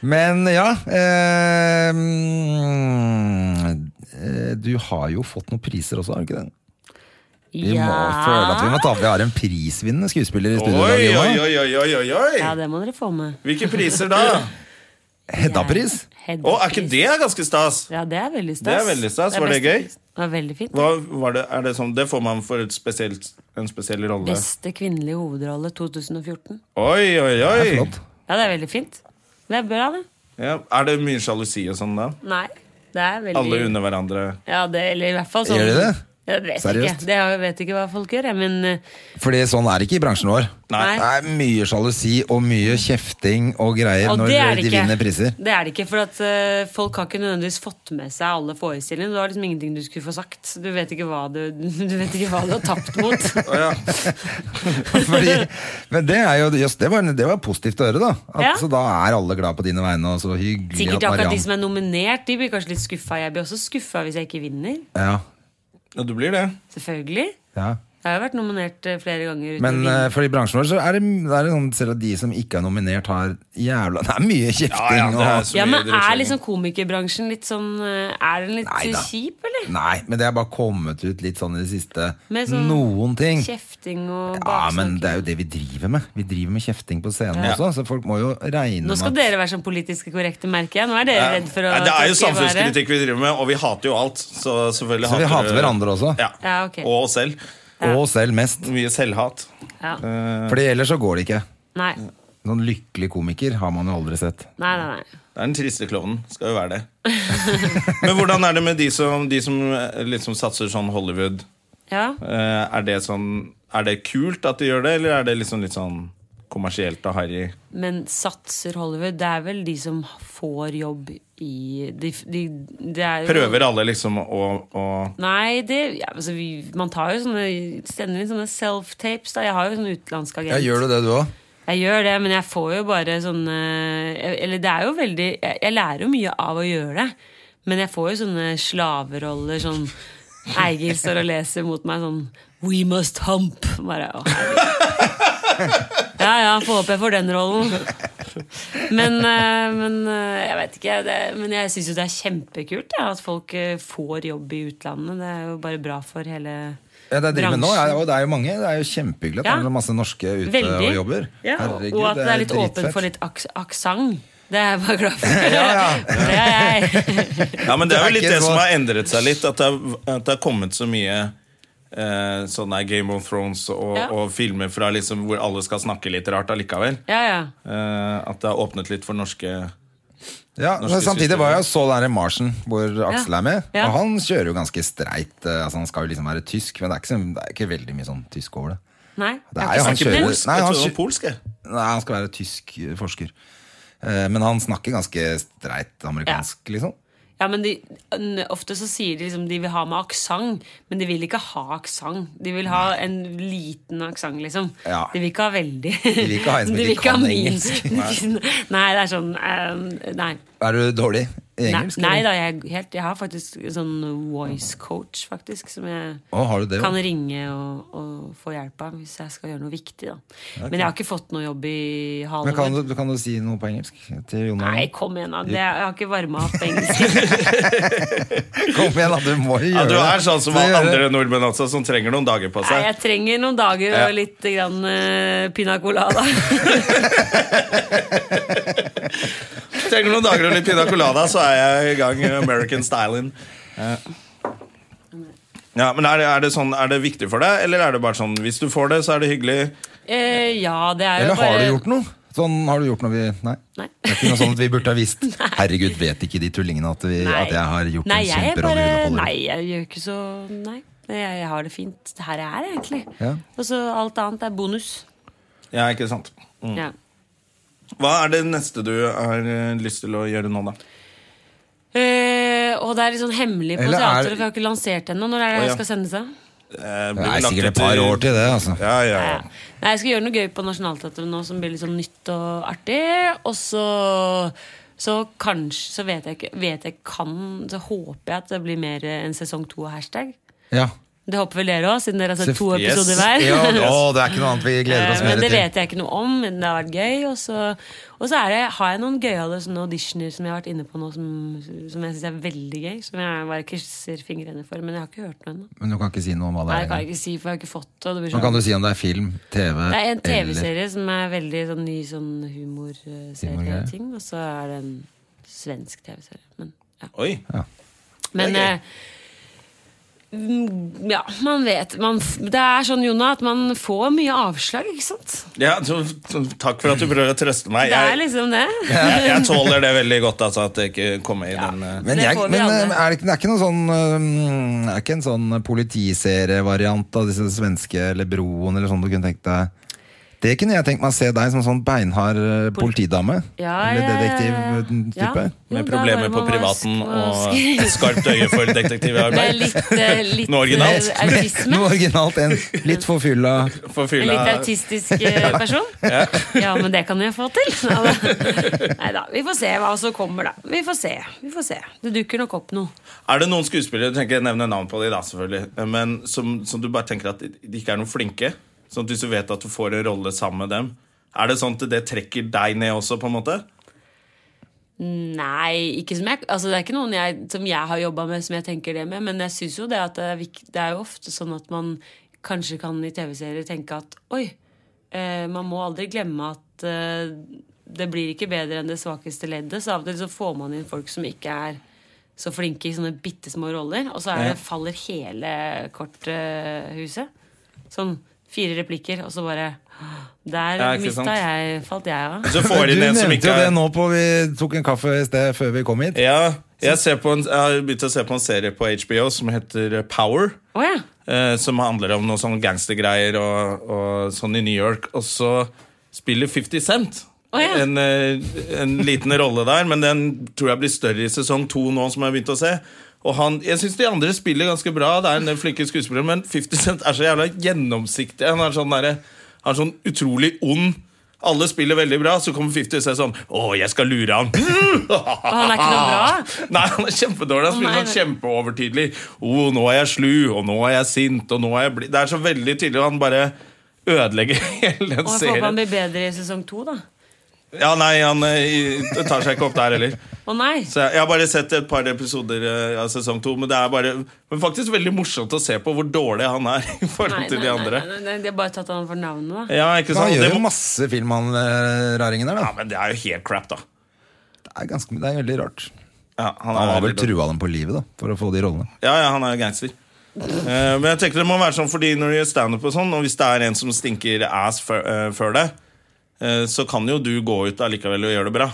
Men ja eh, mm, eh, Du har jo fått noen priser også, har du ikke det? Vi må føle at vi må ta Vi har en prisvinnende skuespiller i Oi, studio. i dag, oi, Jonas. oi, oi, oi, oi, Ja, oi. det må dere få med. Hvilke priser da? Hedda-pris. Head- Å, er ikke det ganske stas? Ja, det er veldig stas. Det er veldig stas. er Var det beste- gøy? Det var veldig fint. Hva var det, er det sånn, det får man for et spesielt, en spesiell rolle. Beste kvinnelige hovedrolle 2014. Oi, oi, Det er oi! flott. Ja, det er veldig fint. Det er bra, det. Ja, er det mye sjalusi og sånn da? Nei, det er veldig Alle under hverandre. Ja, det, eller i hvert fall sånn Gjør de det? Jeg vet Seriøst? ikke. Det, jeg vet ikke hva folk gjør, jeg, men eh, Fordi sånn er det ikke i bransjen vår. Nei. Det er mye sjalusi og mye kjefting og greier Og når det er det de ikke. vinner priser. Det er det ikke, for at eh, folk har ikke nødvendigvis fått med seg alle forestillingene. Du har liksom ingenting du skulle få sagt. Du vet ikke hva du, du, vet ikke hva du har tapt mot. Fordi, men det er jo jøss, det, var, det var positivt å høre, da. At, Ja. Så da er alle glad på dine vegne, og så hyggelig Sikkert at akkurat de Mariann som er nominert, de blir kanskje litt skuffa. Jeg blir også skuffa hvis jeg ikke vinner. ja, Ja, du blir det. Selvfølgelig. ja. Jeg har jo vært nominert eh, flere ganger. Uten Men å vinne. eh, for i bransjen vår så er det, det er det sånn selv at de som ikke er nominert, har jævla Det er mye Ja, ja, kjefting det er og så ja, mye men Er drittskjegg. liksom komikerbransjen litt sånn eh, Er den litt Neida. kjip, eller? Nei, men det er bare kommet ut litt sånn i det siste. Med sånn Noen ting. Kjefting og Ja, men baksnakking. det er jo det vi driver med. Vi driver med kjefting på scenen også, så folk må jo regne Nå skal med at- dere være sånn politisk korrekte, merker jeg. Nå er dere redd for å Nei, det er tråkke i jo været. samfunnskritikk vi driver med, og vi hater jo alt. Så selvfølgelig Så vi hater vi- hverandre også. Ja. Ja, ok. Og oss selv. Og selv mest. Mye selvhat. Ja. Fordi ellers så går det ikke. Nei. Noen lykkelig komiker har man jo aldri sett. Nei, nei, nei. Det er den triste klovnen. Skal jo være det. Men hvordan er det med de som, de som eh, liksom satser sånn Hollywood? Ja. Eh, er, det sånn, er det kult at de gjør det, eller er det liksom litt sånn kommersielt og harry? Men satser Hollywood. Det er vel de som får jobb i de, de, det er jo, Prøver alle liksom å, å Nei, det ja, altså, vi, Man tar jo sånne sender inn sånne self-tapes. da Jeg har jo sånn utenlandsk agent. Ja, gjør du det, du òg? Jeg gjør det, men jeg får jo bare sånne Eller det er jo veldig Jeg, jeg lærer jo mye av å gjøre det, men jeg får jo sånne slaveroller sånn Eigil står og leser mot meg sånn We must hump. Bare, å, herregud. ja ja, får håpe jeg får den rollen. Men, eh, men eh, jeg vet ikke. Det, men jeg syns jo det er kjempekult ja, at folk eh, får jobb i utlandet. Det er jo bare bra for hele Ja, det jeg driver med nå, Bransjen. er, og det er jo mange. Det er jo kjempehyggelig at Ja. det er masse norske ute eh, og jobber. Ja. Herregud, og at det er litt åpen dritfett. for litt aks aksent. Det er jeg bare glad for. ja. For det er jeg. Ja, men det er Det er jo litt ikke det så- som har endret seg litt. At det har, at det har kommet så mye eh, sånne Game of Thrones og, Ja. og filmer fra liksom hvor alle skal snakke litt rart allikevel. Ja, ja. Eh, at det har åpnet litt for norske Ja, men Norske Samtidig systemer. var jeg og så den der Marsen hvor Aksel Ja. er med. Ja. Og han kjører jo ganske streit. eh, Altså, han skal jo liksom være tysk, men det er ikke, så- det er ikke veldig mye sånn tysk over det. Nei. Det er jeg har jo han ikke snakket med kjører den. Nei, Jeg han tror det var kjø- polsk, jeg. Nei, han skal være tysk eh, forsker. Eh, Men han snakker ganske streit amerikansk, liksom. Ja, men de, n- Ofte så sier de liksom de vil ha med aksent, men de vil ikke ha aksent. De vil ha en liten aksent, liksom. Ja, De vil ikke ha veldig. De vil ikke ha en som De ikke vil kan min. engelsk. Nei, det er sånn eh, Nei. Er du dårlig i Nei, engelsk? nei eller? da, jeg, er helt, jeg har faktisk sånn voice coach, faktisk, som jeg Å, har du det? kan også? ringe og, og få hjelp av hvis jeg skal gjøre noe viktig. Da. Men jeg har ikke fått noe jobb i Men kan Hollywood. du, kan du si noe på engelsk til Jon Nei, Arne? kom igjen, da. Det, jeg har ikke varma opp engelsk. Kom igjen, da! Du må jo gjøre Ja, du det. er sånn som Du gjør alle det. andre nordmenn også, som trenger noen dager på Nei, seg. jeg trenger noen dager og Ja. litt grann eh, pina colada. Trenger noen dager og litt pina colada, så er jeg i gang med American styling. Eh. Ja, men er det, er, det sånn, er det viktig for deg, eller er det bare sånn hvis du får det, så er det hyggelig? Eh, ja, det er jo Eller bare har du gjort noe? Sånn har du gjort noe vi Nei. Nei. Det er ikke noe sånn at vi burde ha visst. Herregud, vet ikke de tullingene at, vi, at jeg har gjort nei, en jeg er kjemperolle i bare- Hollywood? Nei, jeg gjør ikke så Nei. Jeg, jeg har det fint Det her jeg er, egentlig. Ja. Og så alt annet er bonus. Ja, ikke sant? Mm. Ja. Mm. Hva er det neste du har eh, lyst til å gjøre nå, da? Eh, og det er litt sånn hemmelig på Eller er- teateret, for jeg har ikke lansert ennå. Når er det Å, det ja. skal sendes, da? Eh, blir Det er lagt sikkert ut et par år til det, altså. Ja, ja, Ja. ja. Nei, jeg skal gjøre noe gøy på Nationaltheatret nå som blir litt sånn nytt og artig. Og så så kanskje Så vet jeg ikke vet jeg kan, Så håper jeg at det blir mer en sesong to av hashtag. Ja. Det håper vel dere òg, siden dere har sett to Sef- yes. episoder hver. ja å, det er ikke noe annet vi gleder oss Eh, Men mer det til. vet jeg ikke noe om, men det har vært gøy. Og så, og så er det, har jeg noen gøyale sånne auditioner som jeg har vært inne på nå, som, som jeg syns er veldig gøy. Som jeg bare krysser fingrene for. Men jeg har ikke hørt noe ennå. Men du kan ikke si noe om hva det Nei, det er. kan jeg engang. ikke si, for jeg har ikke fått det. og det. Blir Nå kan sånn. du si om det er film, TV Det er en eller TV-serie som er veldig sånn ny sånn Humorgreier. humorserieting, og så er det en svensk TV-serie. Men, ja. Oi. Men Det er gøy. eh, mm, ja, man vet man, f- Det er sånn, Jonna, at man får mye avslag, ikke sant? Ja, så, så, takk for at du prøver å trøste meg. Det er Jeg, liksom det. jeg, jeg tåler det veldig godt, altså, at det ikke kommer i den eh, Men, Det jeg, får vi men eh, alle. er det, ikke, det er ikke noe sånn eh, Er ikke en sånn politiserievariant av disse svenske eller Broen eller sånn du kunne tenkt deg? Det kunne jeg tenkt meg å se deg som sånn beinhard eh, politidame. Ja, eller ja, ja, eh, ja. Ja. detektiv-type. med Jo, da problemer bare på man bare privaten sk- og skarpt øye for Det er detektivarbeid. litt, eh, litt Noe originalt. eh, autisme. Noe originalt enn litt forfylla For En litt fylla autistisk eh, person. Ja. men det kan jeg få til. Nei da. Vi får se hva som kommer, da. Vi får se. Vi får se. Det dukker nok opp noe. Er det noen skuespillere du tenker nevne navn på de da, selvfølgelig Men som, som du bare tenker at de ikke er noen flinke? Sånn at hvis du vet at du får en rolle sammen med dem Er det sånn at det trekker deg ned også, på en måte? Nei, ikke som jeg Altså det er ikke noen jeg, som jeg har jobba med, som jeg tenker det med, men jeg syns jo det at det er, vik- det er jo ofte sånn at man kanskje kan i TV-serier tenke at oi, eh, man må aldri glemme at eh, det blir ikke bedre enn det svakeste leddet, så av og til så får man inn folk som ikke er så flinke i sånne bitte små roller, og så er det, faller hele korthuset. Sånn fire replikker, og så bare Der Ja, ikke sant. mista jeg Falt jeg av. Så får Du de en som nevnte ikke jo det er nå på vi tok en kaffe i sted før vi kom hit. ja, jeg, ser på en, jeg har begynt å se på en serie på HBO som heter Power. Å ja. eh, som handler om noen sånne gangstergreier og, og sånn i New York. Og så spiller 50 Cent Å, ja. en, eh, en liten rolle der, men den tror jeg blir større i sesong to nå, som jeg har begynt å se. Og han, jeg synes de andre spiller ganske bra, det er en del flinke skuespillere, men 50 Cent er så jævla gjennomsiktig. Han er sånn, derre- han er sånn utrolig ond. Alle spiller veldig bra, så kommer 50 Cent sånn Å, jeg skal lure han! Og han er ikke noe bra? Nei, han er kjempedårlig. Han Å, spiller nei, sånn nei. kjempeovertydelig. Oh, nå er jeg slu, og nå er jeg sint, og nå er jeg blid. Det er så veldig tydelig, og han bare ødelegger hele den Og jeg håper han serien. blir bedre i sesong to, da. Ja, nei, han eh, i- tar seg ikke opp der heller. Å nei! Så jeg, jeg har bare sett et par episoder eh, av sesong to, men det er bare Men faktisk veldig morsomt å se på hvor dårlig han er i forhold Nei, til de andre. Nei, nei, nei, de har bare tatt han for navnet, da. Ja, ikke Han sant? gjør Det jo må, masse film, han eh, raringen der. ja, Da. men det er jo helt crap, da. Det, er ganske, det er veldig rart. Ja, han er Han har vel veldig dårlig. trua dem på livet da, for å få de rollene. Ja, ja, han er jo gangster. Eh, men jeg tenker det må være sånn fordi når du gjør standup og sånn, og hvis det er en som stinker ass før, eh, før det, eh, så kan jo du gå ut allikevel og gjøre det bra.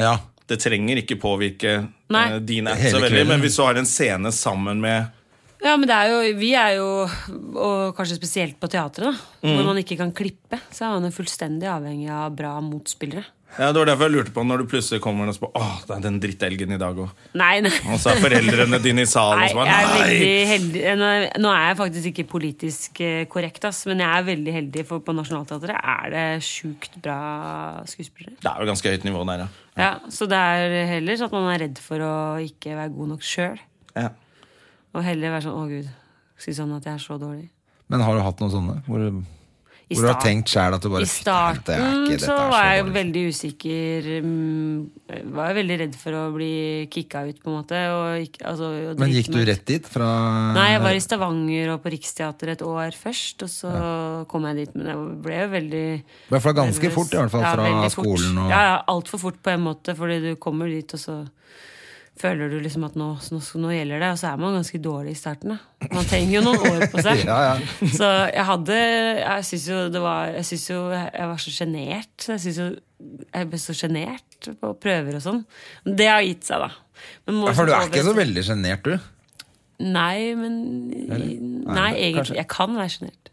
Ja, Det trenger ikke påvirke Nei. eh, din act Hele så veldig, kvelden. men hvis du har en scene sammen med Ja, men det er jo, vi er jo, og kanskje spesielt på teatret, da, Mm. hvor man ikke kan klippe, så er man jo fullstendig avhengig av bra motspillere. ja, Det var derfor jeg lurte på når du plutselig kommer og spør Åh, det er den drittelgen i dag òg. Nei, nei. Og så er foreldrene dine i salen Nei, og så jeg er bare veldig Nei! heldig Nå er- nå er jeg faktisk ikke politisk eh, korrekt, ass, men jeg er veldig heldig, for på Nationaltheatret er det sjukt bra skuespillere. Det er jo ganske høyt nivå der, ja. Ja, Så det er heller sånn at man er redd for å ikke være god nok sjøl, ja. og heller være sånn 'Å, gud', si sånn at jeg er så dårlig. Men har du hatt noen sånne? Hvor, I hvor du har start- tenkt sjæl at du bare I starten "Dette er ikke- dette så er var jeg dårlig." veldig usikker. mm, Var jeg veldig redd for å bli kicka ut, på en måte. Og ikke, altså, å Men drite gikk du meg ut. rett dit? Fra Nei, jeg var i Stavanger og på Riksteatret et år først, og så kom jeg dit. Men jeg ble jo veldig I hvert fall ganske nervøs. fort, i hvert fall, fra veldig fort. skolen og- Ja, ja, altfor fort på en måte, fordi du kommer dit, og så føler du liksom at nå, nå, nå gjelder det. Og så er man ganske dårlig i starten, da. Man trenger jo noen år på seg. Ja, ja. Så jeg hadde Jeg syns jo det var Jeg synes jo jeg var så sjenert. så Jeg synes jo jeg ble så sjenert på prøver og sånn. Men Det har gitt seg, da. Men må Ja, For du liksom er ikke så overvente- veldig sjenert, du? Nei, men Nei, egentlig. kanskje. Jeg kan være sjenert.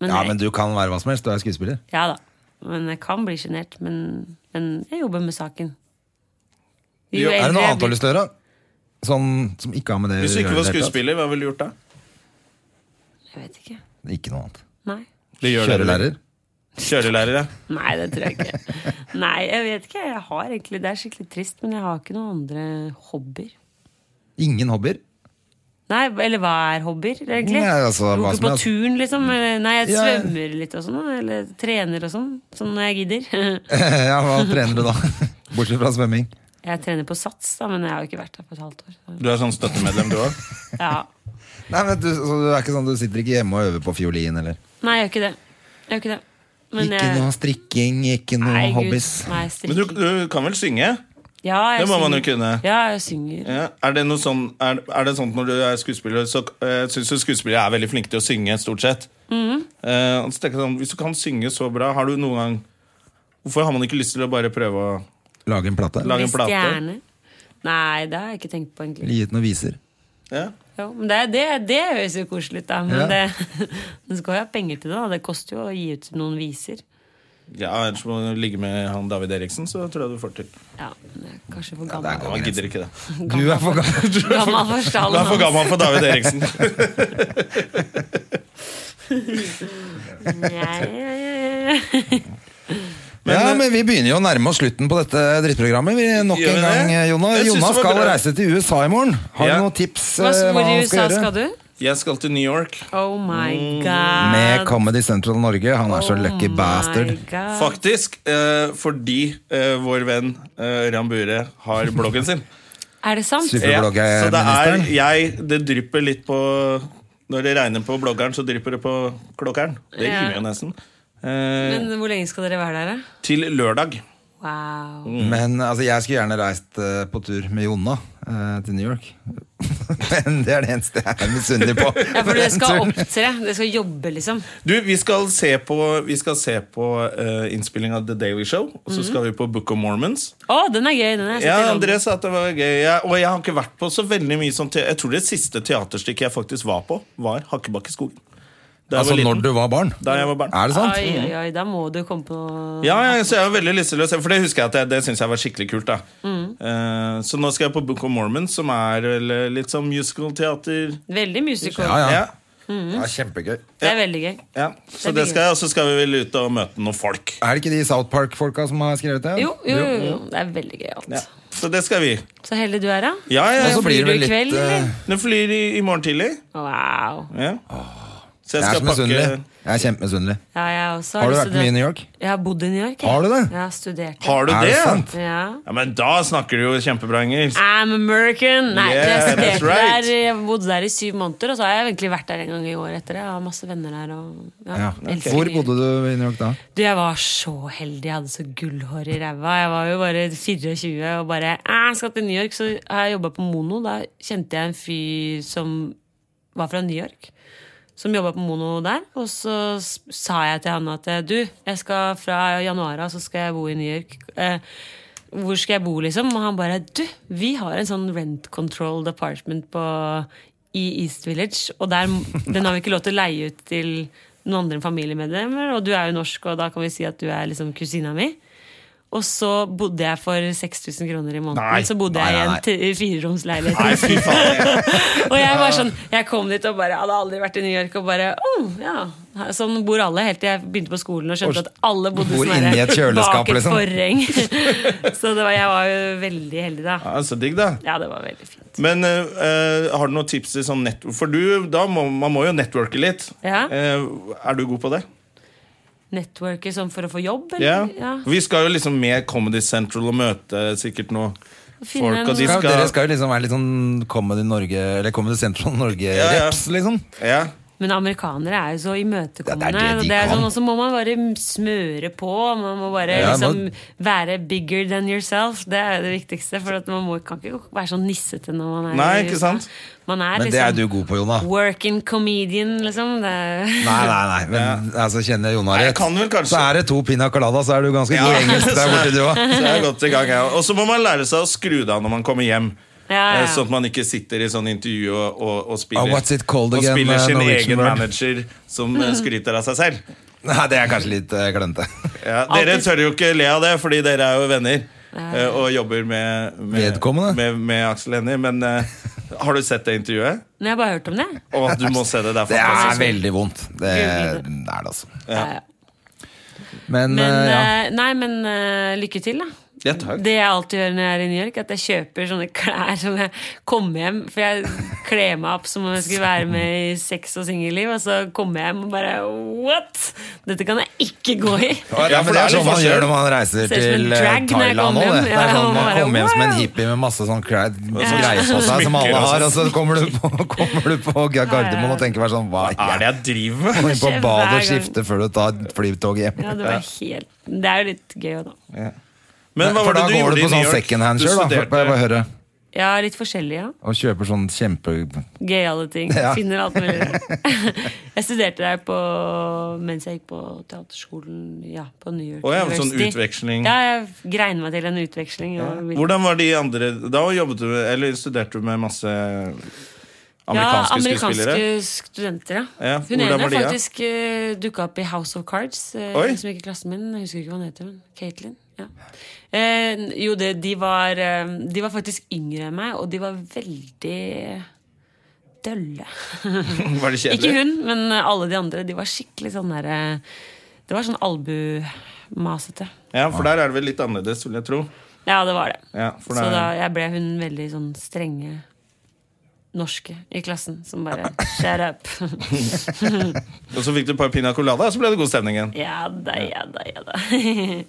Men, Ja, jeg- men du kan være hva som helst. Du er skuespiller. ja da. Men jeg kan bli sjenert. Men, men jeg jobber med saken. Jo, Er det eldre noe jeg annet du blir- har lyst til å gjøre? Sånn som ikke har med det Hvis du ikke å gjøre i var det hele tatt? skuespiller, hva ville du gjort da? Jeg vet ikke. Ikke noe annet. Nei. Det gjør dere. Kjørelærer? Kjørelærer, ja. Nei, det tror jeg ikke. Nei, jeg vet ikke. Jeg har egentlig, Det er skikkelig trist, men jeg har ikke noen andre hobbyer. Ingen hobbyer? Nei, eller hva er hobbyer, egentlig? Nei, altså, hva Gå som på helst. turen, liksom? eller- Nei, jeg Ja. svømmer litt og sånn, da, eller trener og sånn. Sånn når jeg gidder. ja, hva trener du da? Bortsett fra svømming. Jeg trener på sats, da, men jeg har jo ikke vært der på et halvt år. så- Du er sånn støttemedlem, du òg? Ja. Nei, men du, så du er ikke sånn, du sitter ikke hjemme og øver på fiolin, eller? Nei, jeg gjør ikke det. Jeg gjør ikke det. Men ikke jeg- noe strikking, ikke noe Nei, Gud, hobbies. Nei, Men du, strikking. du kan vel synge? Ja, jeg Det må man jo synger. kunne. Ja, jeg synger. Ja. Er, det noe sånn, er, er det sånn at når du er skuespiller, så uh, syns du skuespillere er veldig flinke til å synge, stort sett? Eh, og så tenker jeg sånn, hvis du kan synge så bra, har du noen gang Hvorfor har man ikke lyst til å bare prøve å Lage en plate? lage en Hvis plate? gjerne. Nei, det har jeg ikke tenkt på, egentlig. Eller gi ut noen viser? Ja. Jo, men det, det, det høres jo koselig ut, da. Men Ja. det, du skal jo ha penger til det. da Det koster jo å gi ut noen viser. ja, Ellers må du ligge med han David Eriksen, så tror jeg du får til. Ja, men jeg er kanskje for det gammel. er Ja, Han gidder ikke det. Du er for gammel. Gammel for Du er for stallen. gammel for David Eriksen. ja, men vi begynner jo å nærme oss slutten på dette drittprogrammet. Vi, nok Gjør vi en gang, eh, det? Jonas. Jeg synes Jonas det var skal bra. reise til USA i morgen. Har Ja. du noen tips? Hva eh, hvor i USA gjøre? skal du? Jeg skal til New York. Oh my Med god. Oh Comedy Central Norge. Han er så lucky bastard. Fuck. Faktisk eh, fordi eh, vår venn eh, Ørjan Bure har bloggen sin. Er det sant? Super. Ja, så det er bloggerministeren. jeg Det drypper litt på Når det regner på bloggeren, så drypper det på klokkeren. Det Ja. rimer jo nesten. Eh, Men hvor lenge skal dere være der, da? til lørdag. Wow. Mm. Men altså, jeg skulle gjerne reist eh, på tur med Jonna. eh, til New York. Men det er det eneste jeg er misunnelig på. Ja, for den det skal turen. opptre. Det skal jobbe, liksom. Du, vi skal se på, vi skal se på eh, innspilling av The Daily Show, og Mhm. så skal vi på Book of Mormons. Å, den er gøy. Den er Ja, André sa at det var gøy. Jeg, og jeg har ikke vært på så veldig mye sånn te- Jeg tror det siste teaterstykket jeg faktisk var på, var Hakkebakkeskogen. Da jeg Altså var liten. når du var barn? Da jeg var barn. Er det sant? Oi, oi, oi, da må du komme på noe Ja, ja, så jeg var veldig lysteløs, for det husker jeg at jeg, det synes jeg var skikkelig kult. da Eh, Så nå skal jeg på Book of Mormon, som er vel, litt sånn musical-teater. Veldig musical. Ja, ja. Ja. Det er kjempegøy. Det er veldig gøy. Ja. Det Så er det skal jeg, og så skal vi vel ut og møte noen folk. Er det ikke de South Park-folka som har skrevet det? Jo, jo, jo, jo. Det er veldig gøy alt. Ja. Så det skal vi. Så heldig du er, da. Ja, ja. Og så Flyr blir det du vel i litt kveld, eh, eller? Nå flyr i, i morgen tidlig. Wow. Ja. Så jeg Jeg er skal så pakke misunnelig. Jeg er kjempemisunnelig. Ja, jeg også. Har du lyst vært til å mye i dra- New York? Jeg har bodd i New York. jeg. Har du det? Jeg har studert. Har du Er det? det sant? Ja. Ja, men da snakker du jo kjempebra engelsk. I'm American! Nei, jeg Yeah, that's studerte right. der, jeg bodde der i syv måneder, og så har jeg egentlig vært der en gang i år etter det. Jeg har masse venner der og ja, Ja. elsker Hvor New York. bodde du i New York da? Du, jeg var så heldig. Jeg hadde så gullhår i ræva. Jeg var jo bare 24 og bare «Æ, Jeg skal til New York, så har jeg jobba på Mono. Da kjente jeg en fyr som var fra New York. Som jobba på Mono der. Og så s- sa jeg til han at du, jeg skal fra januar av så skal jeg bo i New York. Eh, hvor skal jeg bo, liksom? Og han bare Du, vi har en sånn rent controlled apartment på, i East Village, og der, den har vi ikke lov til å leie ut til noen andre enn familiemedlemmer, og du er jo norsk, og da kan vi si at du er liksom kusina mi. Og så bodde jeg for 6000 kroner i måneden. Nei, så bodde nei, nei, jeg i en t- fireromsleilighet. Nei, fy faen. Og jeg var sånn, jeg kom dit og bare hadde aldri vært i New York. Og bare, oh, ja her- Sånn bor alle, helt til jeg begynte på skolen og skjønte at alle bodde bor sånn inni her et kjøleskap, bak et liksom. forheng. Så det var, jeg var jo veldig heldig, da. Ja, så digg, da. Ja, det var veldig fint. Men eh, eh, har du noen tips til sånn nett... For du, da må, man må jo networke litt. Ja. Eh, er du god på det? Networket sånn for å få jobb, Ja. eller? Ja. Vi skal jo liksom med Comedy Central og møte sikkert noe Finne folk. Og de Skal, dere skal skal jo liksom være litt sånn Comedy Norge Eller Comedy Central Ja, ja. Norge-reps, liksom. ja. Men amerikanere er jo så imøtekommende. Ja, det er det de og det er kan. sånn, og så må man bare smøre på. Man må bare Ja, liksom man- være bigger than yourself. Det er jo det viktigste. For at man må, kan ikke være sånn nissete når man er Nei, i ikke USA. sant? Man er Men det er liksom du god på, Jona. working comedian, liksom. Det er Nei, nei, nei, men altså, kjenner jeg Jona Nei, jeg rett, kan vel kanskje- så er det to pina colada, så er du ganske Ja. god i engelsk der borte, du òg. Så jeg er godt i gang, jeg òg. Og så må man lære seg å skru det av når man kommer hjem. Ja, ja. Eh, Sånn at man ikke sitter i sånn intervju og, og, og spiller, Oh, what's it called og again, spiller eh, sin Norwegian egen word? manager som Mm. eh, skryter av seg selv. Nei, det er kanskje litt eh, klønete. Ja, dere Alltid- tør jo ikke le av det, fordi dere er jo venner. eh, Og jobber med, med, Vedkommende. med, med Aksel Hennie. Men eh, har du sett det intervjuet? Men jeg har bare hørt om det. Og du må se det. Det er Det er fantastisk. veldig vondt. Det det er det, altså. Ja. ja. Men, Men, eh, ja. eh, Nei, men eh, lykke til, da. Ja, takk. Det jeg alltid gjør når jeg er i New York, at jeg kjøper sånne klær som jeg kommer hjem For jeg kler meg opp som om jeg Sånn. skulle være med i sex og singelliv, og så kommer jeg hjem og bare What?! Dette kan jeg ikke gå i! Ja, men det er litt sånn man forskjell. gjør når man reiser Ser ut som en til eh, drag når jeg Thailand kommer òg. hjem. Det. det Ja, er sånn man man bare, kommer hjem som en wow. hippie med masse sånn cra- sånn greier på seg som smykker alle og har, sånn. og så kommer du på, kommer du på garderoben og tenker bare sånn Hva Hva er det jeg driver med? Gå inn på skjer hver badet og gang. skifte før du tar flytoget hjem. Ja, det var helt Det er jo litt gøy òg, da. Men hva var For da det du går gjorde i du på New sånn York? second hand Du sjøl, da. studerte- Får jeg bare høre. Ja, litt forskjellig, ja. Og kjøper sånn kjempe... Gøyale ting. Ja. Finner alt mulig. jeg studerte der på, mens jeg gikk på teaterskolen ja, på New York Å ja, sånn utveksling. Ja, jeg grein meg til en utveksling. og- Hvordan var de andre Da jobbet du, eller studerte du med masse amerikanske, ja, amerikanske skuespillere? studenter, ja. Ja, hun hvordan ene var de, ja? faktisk uh, dukka opp i House of Cards. eh, Oi. Som gikk i klassen min. Jeg husker ikke hva hun heter. men Caitlin. Ja. Eh, jo, det, de, var, eh, de var faktisk yngre enn meg, og de var veldig dølle. Var det ikke kjedelig? hun, men alle de andre. De var skikkelig sånn derre Det var sånn albumasete. Ja, for der er det vel litt annerledes, vil jeg tro. Ja, det var det. Ja, for Så det er- da jeg ble hun veldig sånn strenge norske i klassen som bare Shut up. Og så fikk du et par pina colada, og så ble det god stemning igjen. Ja da, ja da, ja da.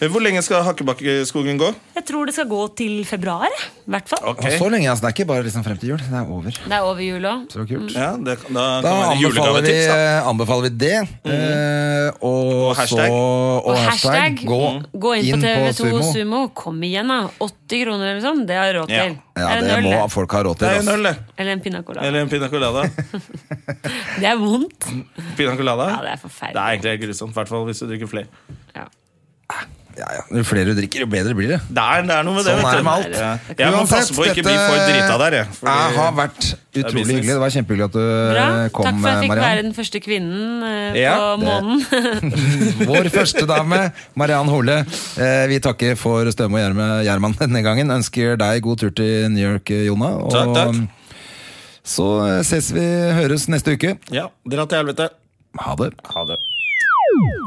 Hvor lenge skal Hakkebakkeskogen gå? Jeg tror det skal gå til februar. I hvert fall. Ok. Og så lenge jeg snakker, bare liksom frem til jul. Det er over. Det er over jul òg. Så kult. Ja, det, da, kan Da være anbefaler vi, julegavetips. da. Mm. eh, anbefaler vi det. eh, og, Og hashtag. Mm. så og Og hashtag, hashtag gå, gå inn, på TV2 Sumo. Sumo. Kom igjen, da. 80 kroner eller sånn, det har jeg råd Ja. til. Ja, Eller en det øl, må det. folk ha råd til. Det er en altså. øl, det. Eller en pina colada. Eller en pina colada. Det er vondt. Pina colada? Ja, det er Det er forferdelig. egentlig helt grusomt, i hvert fall hvis du drikker flere. Ja. Ja, ja. Jo flere du drikker, jo bedre blir det. Det er, det er noe med det. Sånn vet er du. det med alt. Ja. Jeg må passe på å ikke bli for drita der. Jeg, fordi- jeg har vært utrolig business. hyggelig. Det var kjempehyggelig at du Bra. Eh, kom, Takk for at jeg fikk være Mariann. den første kvinnen eh, Ja, på månen. Vår første dame, Mariann Hole. Eh, vi takker for Støme og Gjerme- Gjerman denne gangen. Ønsker deg god tur til New York, Jonna. Og Takk, takk. så eh, ses vi, høres neste uke. ja, Dra til helvete. Ha det. Ha det.